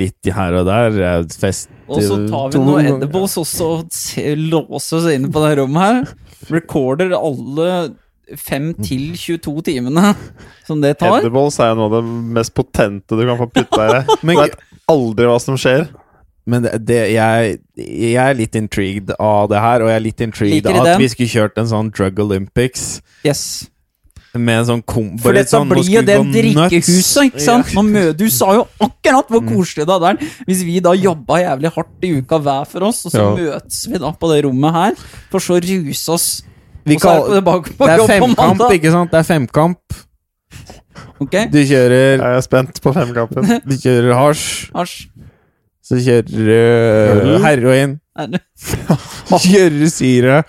S5: litt her og der. jeg Fest
S1: Og så tar vi noe edibles også og se- låser oss inne på det rommet her. Recorder alle 5 til 22 timene som det tar.
S2: Edibles er jo noe av det mest potente du kan få putta i deg. Du
S5: Men-
S2: vet aldri hva som skjer.
S5: Men det, det, jeg, jeg er litt intrigued av det her, og jeg er litt intrigued
S1: Liker du
S5: av at
S1: den?
S5: vi skulle kjørt en sånn Drug Olympics
S1: Yes.
S5: med en sånn kom...
S1: For
S5: bare
S1: dette
S5: sånn, nå
S1: blir jo
S5: skulle
S1: det
S5: vi gå nuts.
S1: drikkehuset, ikke sant? Nå mø- du sa jo akkurat
S5: Mm.
S1: hvor koselig det hadde vært hvis vi da jobba jævlig hardt i uka hver for oss, og så
S3: Ja.
S1: møtes vi da på det rommet her, for så å ruse oss.
S5: Vi
S1: Og så er
S5: kall-
S1: det tilbake på
S5: det er
S1: jobb på
S5: femkamp,
S1: mandag.
S5: ikke sant? Det er femkamp.
S1: Ok,
S5: Du kjører,
S2: Jeg er spent på femkampen.
S5: du kjører hasj,
S1: Asj.
S5: så kjører du heroin,
S1: Er det-
S5: så kjører du syre,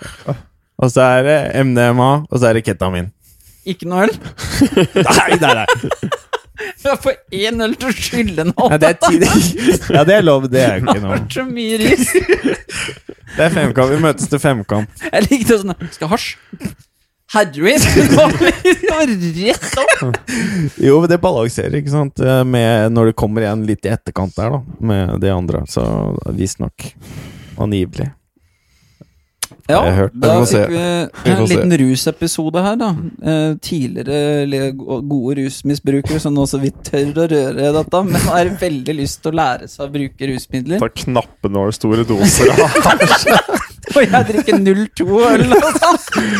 S5: og så er det MDMA, og så er det ketamin.
S1: Ikke noe øl?
S5: Nei, nei, nei.
S1: Jeg får én øl til å skylle nå.
S5: Ja, det er tidlig. Ja, det er lov. Det er jo ikke noe.
S1: vært så mye ris.
S5: Det er femkamp. Vi møtes til femkamp.
S1: Jeg likte sånn Skal hasj? Heroin? Det var rett opp!
S5: Jo, men det balanserer, ikke sant? Eh, Med, når det kommer igjen litt i etterkant der, da. Med de andre. Så visstnok. Angivelig.
S1: Ja,
S5: Jeg har hørt.
S1: da
S3: Vi får se.
S1: fikk vi
S3: Vi
S1: en
S3: får se.
S1: liten rusepisode her, da. Eh, Tidligere le- gode rusmisbrukere som nå så vidt tør å røre dette, men har veldig lyst til å lære seg å bruke rusmidler.
S2: Ta knappenål store doser av
S1: Og jeg drikker 02 øl, altså!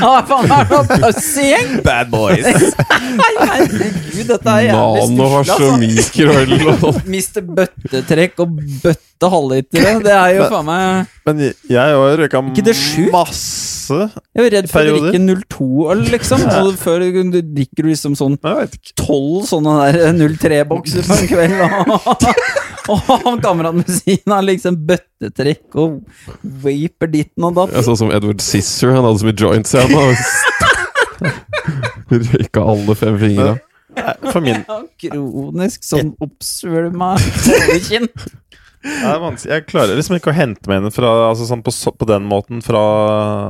S1: Ja, faen, er det noe pussing?
S5: Bad boys!
S1: Nei, herregud, dette er jævlig
S3: Nano har
S1: stusslig,
S3: så
S1: altså.
S3: mikroøl og sånn.
S1: Mister bøttetrekk og bøtte halvlitere. Det er jo faen meg
S2: Men jeg òg røyka
S1: Ikke det sjukt?
S2: masse
S1: Jeg er jo redd for å
S2: Perioder.
S1: drikke 02-øl, liksom. Og før du drikker du liksom sånn
S2: Jeg vet ikke.
S1: tolv sånne der 03-bokser på en kveld. Og, og han kameraten ved siden har liksom bøttetrekk og vaper ditten og datt.
S3: Jeg så som Edward Sisser, han hadde så mye joints igjen. og- Røyka alle fem fingra.
S2: For min
S1: Ja, Kronisk sånn oppsvulma hodekinn.
S2: det er vanskelig. Jeg klarer liksom ikke å hente meg inn fra, altså, sånn på, så- på den måten fra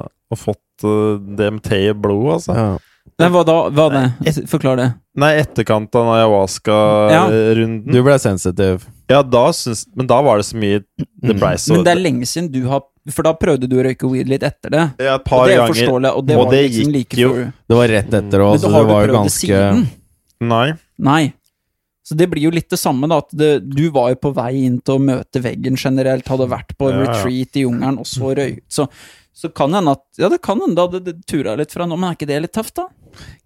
S2: å ha fått eh, DMT i blodet, altså.
S5: Ja.
S1: Men hva da? Hva det? Forklar det.
S2: Nei, etterkant av ayahuasca-runden.
S5: Du ble sensitiv.
S2: eh, Ja, da syns Men da var det så mye Det blei så
S1: Men det er lenge siden du har For da prøvde du å røyke weed litt etter det.
S2: Ja, et
S1: Og
S2: par
S1: det er
S2: ganger.
S1: forståelig, og det
S2: Og
S1: var
S2: det
S1: liksom
S2: gikk
S1: like
S2: jo-
S1: før.
S5: Det var rett etter òg,
S1: Men
S5: så
S1: da
S5: Altså, det
S1: har du
S5: var jo
S1: prøvd det
S5: ganske
S1: siden?
S2: Nei.
S1: Nei. Så det blir jo litt det samme, da. At det, du var jo på vei inn til å møte veggen generelt, hadde vært på
S2: Ja, ja.
S1: retreat i jungelen, og så røykt. Så, så kan hende at Ja, det kan hende det hadde tura litt fra nå, men er ikke det litt tøft, da?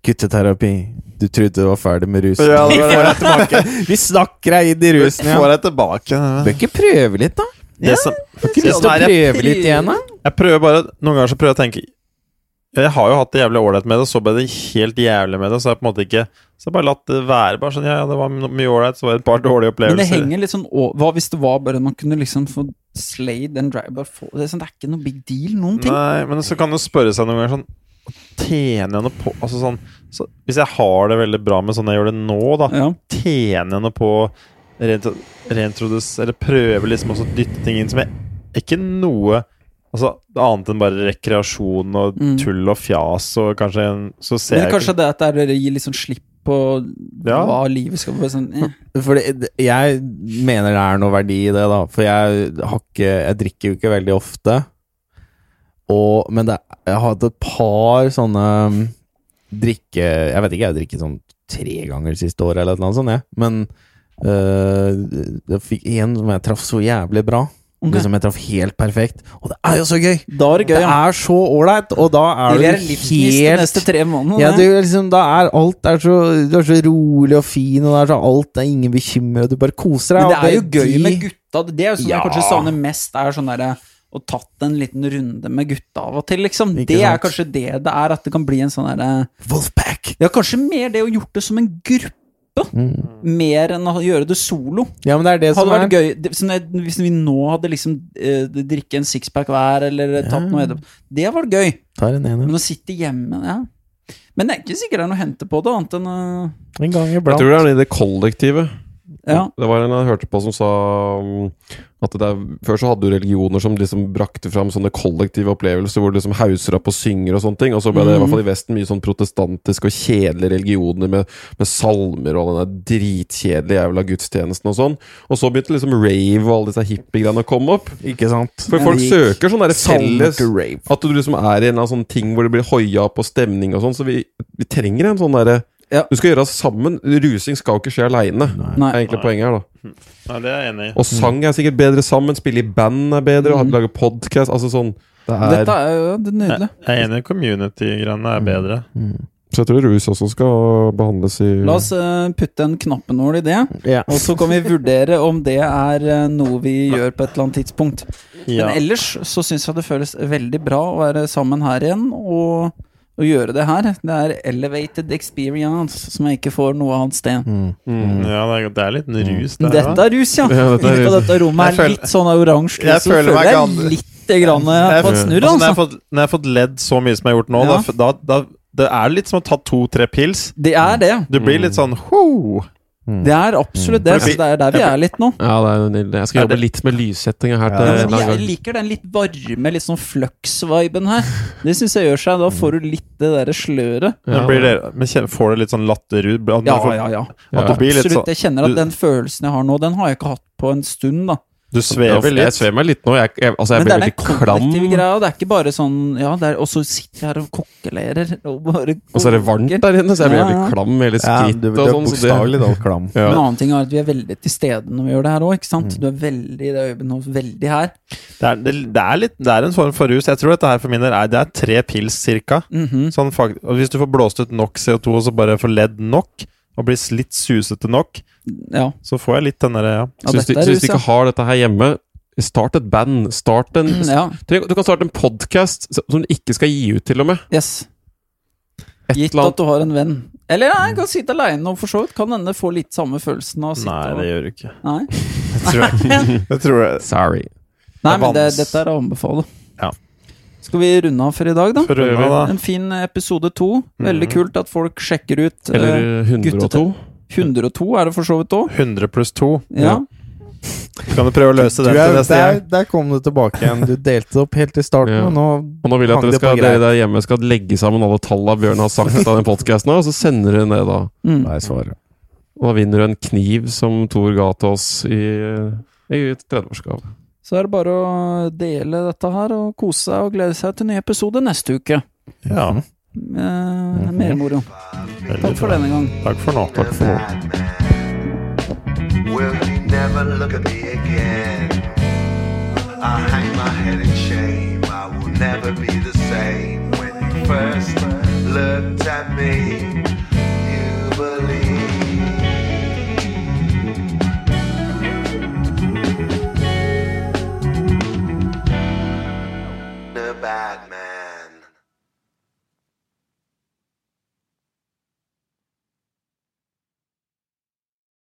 S5: Gutteterapi. Du trodde du var ferdig med rusen.
S2: Ja, det var det.
S5: Vi snakker deg inn i rusen
S2: Får
S5: igjen.
S2: jeg tilbake
S5: Bør ikke prøve litt, da?
S2: det som,
S5: Ikke lyst til å
S2: Nei, jeg,
S5: prøve litt igjen, da?
S2: jeg prøver bare Noen ganger så prøver jeg å tenke Jeg har jo hatt det jævlig ålreit med det, og så ble det helt jævlig med det, så jeg på en måte ikke Så jeg bare latt det være. Bare sånn Ja, ja, det var no- mye ålreit, så var det et par dårlige
S1: Men det
S2: opplevelser.
S1: henger litt sånn å- Hva hvis det var bare man kunne liksom få slay den drive bare få, det, er sånn, det er ikke noe big deal, noen ting.
S2: Nei, men så kan du spørre seg noen ganger sånn Tjener jeg noe på Altså sånn så, Hvis jeg har det veldig bra med sånn jeg gjør det nå, da,
S1: Ja.
S2: tjene henne på å reinto- reintrodus- Eller prøve liksom også å dytte ting inn som jeg Ikke noe Altså annet enn bare rekreasjon og
S1: Mm.
S2: tull og fjas og kanskje en, Så ser
S1: Men
S2: jeg
S1: kanskje det at det er å gi litt sånn slipp på
S2: Ja.
S1: hva livet skal være sånn eh.
S5: For det, jeg mener det er noe verdi i det, da. For jeg har ikke Jeg drikker jo ikke veldig ofte. Og Men det, jeg har hatt et par sånne um, drikke... Jeg vet ikke, jeg har drikket sånn tre ganger det siste året, eller et eller annet sånt, jeg. Men øh, jeg fikk en som jeg traff så jævlig bra.
S1: Ok.
S5: Liksom jeg traff helt perfekt. Og det er jo så gøy!
S1: Da er det
S5: Det
S1: gøy. ja.
S5: er så ålreit, og da er
S1: Det
S5: du
S1: er livsgnist de
S5: helt
S1: neste tre månedene.
S5: ja,
S1: det.
S5: du, liksom, da er alt er så, Du er så rolig og fin, og det er så alt det er ingen bekymret, du bare koser deg.
S1: Men det er jo
S5: og
S1: gøy
S5: de-
S1: med gutta. Det er jo sånn
S5: Ja.
S1: jeg kanskje savner mest, er sånn derre å tatt en liten runde med gutta av og til, liksom.
S5: Ikke
S1: Det er
S5: sant?
S1: kanskje det det er, at det kan bli en sånn derre
S5: Wolfpack!
S1: Ja, kanskje mer det å gjort det som en gruppe. Mer enn å gjøre det solo.
S5: Mm. Ja, men det er det
S1: Hadde
S5: som er
S1: vært gøy det, sånn at Hvis vi nå hadde liksom eh, drikke en sixpack hver, eller tatt noe edderkopp Det hadde vært gøy.
S5: Tar en ener.
S1: Men å sitte hjemme ja. Men det er ikke sikkert det er noe å hente på det, annet enn eh,
S5: En gang
S3: Jeg
S5: iblant.
S3: tror det er i det kollektivet.
S1: Ja.
S3: Det var en jeg hørte på som sa um, at det er, før så hadde du religioner som liksom brakte fram sånne kollektive opplevelser hvor du liksom hauser opp og synger og sånne ting, og så ble det i hvert
S1: Mm.
S3: fall i Vesten mye sånn protestantiske og kjedelige religioner med, med salmer og den der dritkjedelige jævla gudstjenesten og sånn. Og så begynte liksom rave og alle disse hippiegreiene å komme opp.
S5: Ikke sant?
S3: For folk
S5: Rik.
S3: søker sånn der
S5: Salmer
S3: felles
S5: til rave.
S3: At du liksom er i en eller annen sånn ting hvor det blir hoia på stemning og sånn, så vi, vi trenger en sånn derre
S1: Ja.
S3: Du skal gjøre det sammen. Rusing skal jo ikke skje aleine. Det
S1: Nei.
S3: er egentlig poenget her, da.
S2: Ja, det er jeg enig i.
S3: Og sang er sikkert bedre sammen, spille i band er bedre,
S1: Mm.
S3: og lage podkast Altså sånn det er,
S1: Dette er jo det Mm. er
S2: Jeg,
S1: nydelig.
S2: jeg er enig i community-greiene er bedre.
S3: Så jeg tror rus også skal behandles i
S1: La oss eh, putte en knappenål i det,
S5: Ja.
S1: og så kan vi vurdere om det er eh, noe vi gjør på et eller annet tidspunkt.
S2: Ja.
S1: Men ellers så syns jeg det føles veldig bra å være sammen her igjen og, og gjøre det her. Det er elevated experience som jeg ikke får noe annet sted.
S2: Mm, ja, det er, det er litt rus, det her.
S1: Mm. Dette
S2: da.
S1: er rus, ja!
S3: Ja, dette er
S1: Litt av
S3: rus.
S1: dette rommet
S2: Jeg
S1: er
S2: føler-
S1: litt sånn oransje.
S2: Jeg
S1: så
S2: føler meg
S1: jeg
S2: gammel.
S1: litt grann
S2: Jeg-
S1: på et snurr,
S2: Altså, når, jeg har
S1: altså.
S2: fått, når jeg har fått ledd så mye som jeg har gjort nå,
S1: Ja.
S2: da, da, da det er litt som å ta to-tre pils.
S1: Det er det.
S2: Mm. Du blir litt sånn ho!
S1: Det er absolutt
S2: Mm.
S1: det. Så det er der vi er litt nå.
S3: Ja, det er jo nydelig. Jeg skal jobbe litt med lyssettinga her.
S1: Ja,
S3: Til en eller
S1: Jeg
S3: annen gang.
S1: liker den litt varme, litt sånn flux-viben her. Det syns jeg gjør seg. Da får du litt det derre sløret.
S3: Ja.
S2: Men, blir det, men kjen- får du litt sånn latter ut? At du
S1: Ja,
S2: får-
S1: ja, ja.
S3: Ja.
S2: At du blir litt
S1: Absolutt.
S2: sånn
S1: Jeg kjenner at
S2: du-
S1: den følelsen jeg har nå, den har jeg ikke hatt på en stund, da.
S2: Du svever
S3: Jeg
S2: litt.
S3: svever meg litt nå. Jeg, jeg, altså, jeg
S1: Men det er den
S3: blir veldig klam.
S1: kollektive greia, og det er ikke bare sånn Ja, det er, og så sitter jeg her og kokkelerer og bare
S3: Og så er det varmt
S1: koker.
S3: der inne, så jeg blir
S1: Ja, ja.
S3: veldig klam i hele
S5: Ja, du,
S3: skrittet.
S5: du
S3: og
S5: er
S3: sånn, så det-
S5: bokstavelig talt klam.
S3: Ja.
S1: En annen ting er at vi er veldig til stede når vi gjør det her òg, ikke sant.
S3: Mm.
S1: Du er veldig i det øyeblikket, veldig her.
S2: Det er, det, det, er litt, det er en form for rus. Jeg tror dette her for min del er, det er tre pils cirka.
S1: Mhm.
S2: Sånn fakt, og hvis du får blåst ut nok CO2, og så bare får ledd nok, og blir litt susete nok,
S1: Ja.
S2: så får jeg litt den derre ja.
S1: ja
S3: Så hvis, du,
S1: dette
S3: så
S1: er
S3: hvis du
S1: rus,
S3: ikke
S1: ja. Mm,
S3: har dette her hjemme, start et band. Start en
S1: Mhm, ja.
S3: Tenk, Du kan starte en podkast som du ikke skal gi ut, til og med.
S1: Yes.
S3: Et
S1: Gitt
S3: eller annet.
S1: at du har en venn. Eller nei, jeg kan sitte aleine og for så vidt kan hende få litt samme følelsen av å sitte
S2: Nei, det
S1: og
S2: gjør du ikke.
S1: Nei,
S2: Det tror jeg ikke. Det tror jeg.
S3: Sorry.
S1: nei men det,
S2: vans.
S1: dette er å anbefale.
S2: Ja.
S1: Skal vi runde av for i dag, da?
S2: For å runde av, da.
S1: En fin episode to. Veldig kult at folk sjekker ut. eh,
S3: Eller 102.
S1: guttetøy. 102 er det for så vidt òg.
S2: 100 pluss 2.
S1: Ja.
S2: Kan du prøve å løse
S5: Du
S2: den til
S5: er,
S2: neste
S5: der,
S2: gang?
S5: der kom du tilbake igjen. Du delte opp helt i starten,
S3: Ja.
S5: og nå
S3: Og nå vil jeg at
S5: Hang
S3: dere,
S5: det på
S3: skal,
S5: greit.
S3: dere der hjemme skal legge sammen alle talla Bjørn har sagt av den podkasten, og så sender dere ned da.
S1: Mm.
S5: Nei, svaret.
S3: Og da vinner du en kniv som Thor ga til oss i, i 30-årsgave.
S1: Så er det bare å dele dette her og kose seg og glede seg til ny episode neste uke.
S2: Ja.
S1: Eh, mer moro. Takk for denne gang.
S2: Takk for nå. Takk for nå.
S4: Batman. Will you never look at me again? I hang my head in shame. I will never be the same. When you first looked at me, you believed.